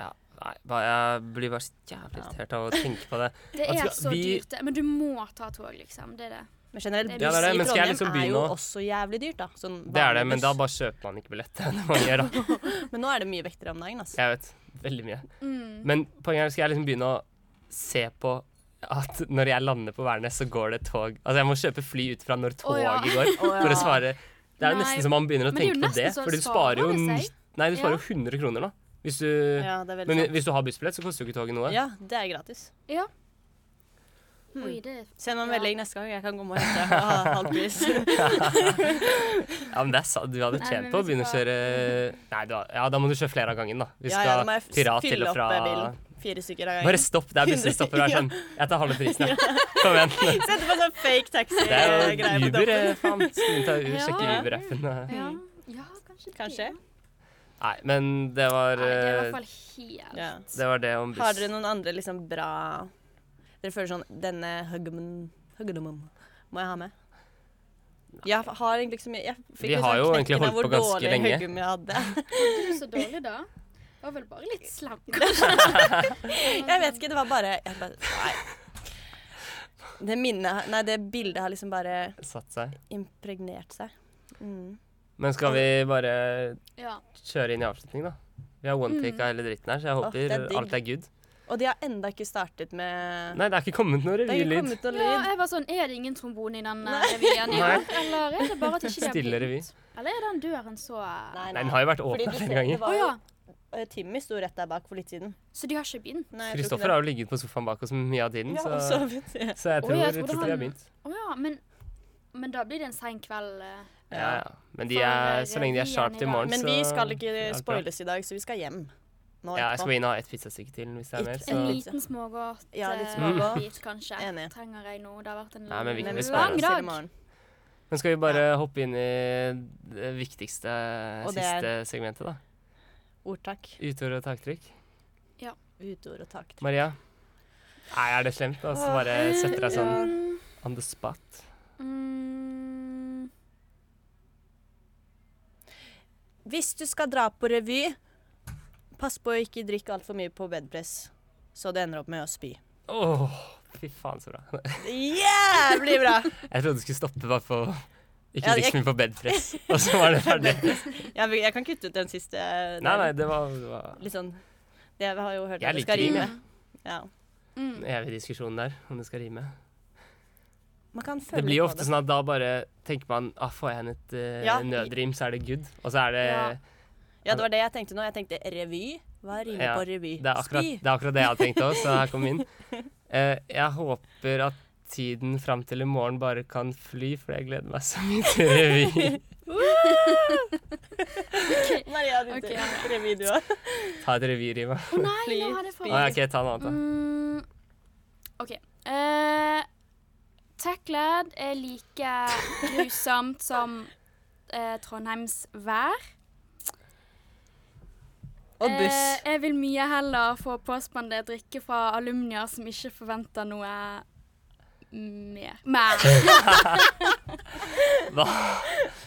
ja, Nei, bare, jeg blir bare så jævlig irritert av å tenke på det. Det Altså, er så vi- dyrt, det. Men du må ta tog, liksom. Det er det. Men generelt, Ja, buss det er det, i men skal jeg Trondheim liksom er begynne jo å- også jævlig dyrt, da. Sånn Det er det, vanlig men buss. da bare kjøper man ikke billett. Det er det man gjør, da. men nå er det mye vektere om dagen, altså. Jeg vet. Veldig mye. Mm. Men poenget er, skal jeg liksom begynne å se på at når jeg lander på Værnes, så går det et tog Altså, jeg må kjøpe fly ut fra når Å, toget ja. går, for å svare Det er jo Nei, nesten så man begynner å men det er tenke jo på nesten det, så Fordi du det sparer jo sparer seg. nitt- Nei, du Ja. sparer jo 100 kroner nå. Hvis du Ja, det er veldig Men sant. hvis du har bussbillett, så koster jo ikke toget noe. Ja, det er gratis. Ja. Oi, det er Send meg en Ja. melding neste gang. Jeg kan komme og hente ha halv pris. Ja, men det er sant. Du hadde Nei, tjent men på å hvis du begynne å skal- kjøre Nei, du har... ja, da må du kjøre flere av gangen, da. Hvis Ja, du ja, da skal må jeg f- pirat til fylle og opp fra eh, bilen. Fire stykker av Bare gangen. stopp der bussen stopper og er Ja. sånn Jeg tar halve prisen, jeg. Kom igjen. Sette på sånn fake Det er jo taxi-greie på Uber, toppen. eh, faen. Skal vi ta Ja. sjekke Uber-appen? eh? Ja, ja kanskje det. Kanskje. Nei, men det Nei, var det er i eh, hvert fall helt Ja. Det var det om buss. Har dere noen andre liksom bra Dere føler sånn Denne huggemen huggedomen må jeg ha med? Jeg har egentlig ikke så mye Jeg fikk Vi jo har sånn jo egentlig knekken av holdt hvor på ganske dårlig lenge. huggum jeg hadde. Du er så dårlig, da. Det var vel bare litt slem, kanskje. Jeg vet ikke, det var bare, jeg bare Nei. Det minnet Nei, det bildet har liksom bare Satt seg. impregnert seg. Mm. Men skal vi bare Ja. kjøre inn i avslutning, da? Vi har one take av hele dritten her, så jeg Mm. Åh, det håper er digg. alt er good. Og de har enda ikke startet med Nei, det er ikke kommet noe Det har ikke revylyd. kommet noe ja, lyd. jeg var sånn Er det ingen trombone i den eh, revyen i Nei. år? Eller er det bare at ikke det Stille revy. begynt? Eller er den døren så eh, Nei, den har jo vært Fordi åpen du ser- flere det ganger. Å var jo ja. eh, Timmy sto rett der bak for litt siden. Så de har ikke begynt? Nei, jeg tror ikke Kristoffer har jo ligget på sofaen bak oss mye av tiden, det. Ja, og så, sovet. Ja. så jeg Oi, tror, jeg jeg trodde tror de har han- begynt. Å ja, men, men da blir det en sein kveld. eh. Ja, ja. Men de For, er, eh, så lenge de er revyen sharp i til dag. morgen, Men så vi skal er ikke alt bra. spoiles i dag, så vi skal hjem. Nå Ja, jeg skal etterpå. inn og ha et pizzastykke til hvis det er mer. Ikke Så En Ja. liten smågodt. Ja, litt eh, smågodt. bit, kanskje. Enig. Trenger jeg nå. Det har vært en Nei, men vi- Men vi vi sparer lang sparer oss til i dag. morgen. Men skal vi bare hoppe inn i det viktigste Og det siste er- segmentet, da? Ordtak. Utord og taktrykk. Utord og takt. Maria? Nei, er det slemt? Altså bare setter deg sånn on the spot. Mm, Hvis du skal dra på revy, pass på å ikke drikke altfor mye på bedpress, så du ender opp med å spy. Åh, fy faen så bra. Jævlig bra! Jeg trodde du skulle stoppe bare på Ikke Ja, drikk jeg- så mye på bedpress, og så var det ferdig. Jeg, vil- jeg kan kutte ut den siste. der. Nei, nei, det var, det var Litt sånn Det har jeg jo hørt Jeg at det liker skal det. rime. Ja. mm. en evig diskusjon der, om det skal rime. Man kan følge Det blir jo på ofte sånn at da bare tenker man ah, får jeg inn et eh, Ja. nødrim, så er det good. Og så er det Ja. Ja, det var det jeg tenkte nå. Jeg tenkte revy. Hva rimer Ja, på revy? Det er akkurat Spy. det, er akkurat det jeg hadde tenkt òg, så her kom vi inn. Eh, jeg håper at tiden fram til i morgen bare kan fly, for jeg gleder meg så mye til revy. Maria, din Ok. tur. Revy, du òg. Ta et revyrime. Å nei, nå Please, Å, har jeg ja, fått OK, ta en annen, mm, OK. Eh, Tacklad er like grusomt som eh, Trondheims vær. Og buss. Eh, jeg vil mye heller få påspandert drikke fra alumnier som ikke forventer noe mer. Mer. da. Hva?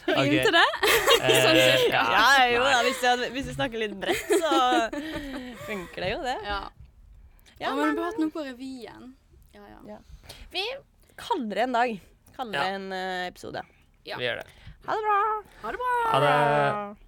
Jeg Ok. Rimte det? Eh, Sånn cirka. ja. Ja, jo da. Hvis du, hvis du snakker litt bredt, så funker det jo, det. Ja. Ja, Å, men vi har hatt noe på revyen. Ja, ja. Vi kaller det en dag. Kaller Ja. det en eh, episode. Vi gjør det. Ha det bra! Ha det bra. Ha det.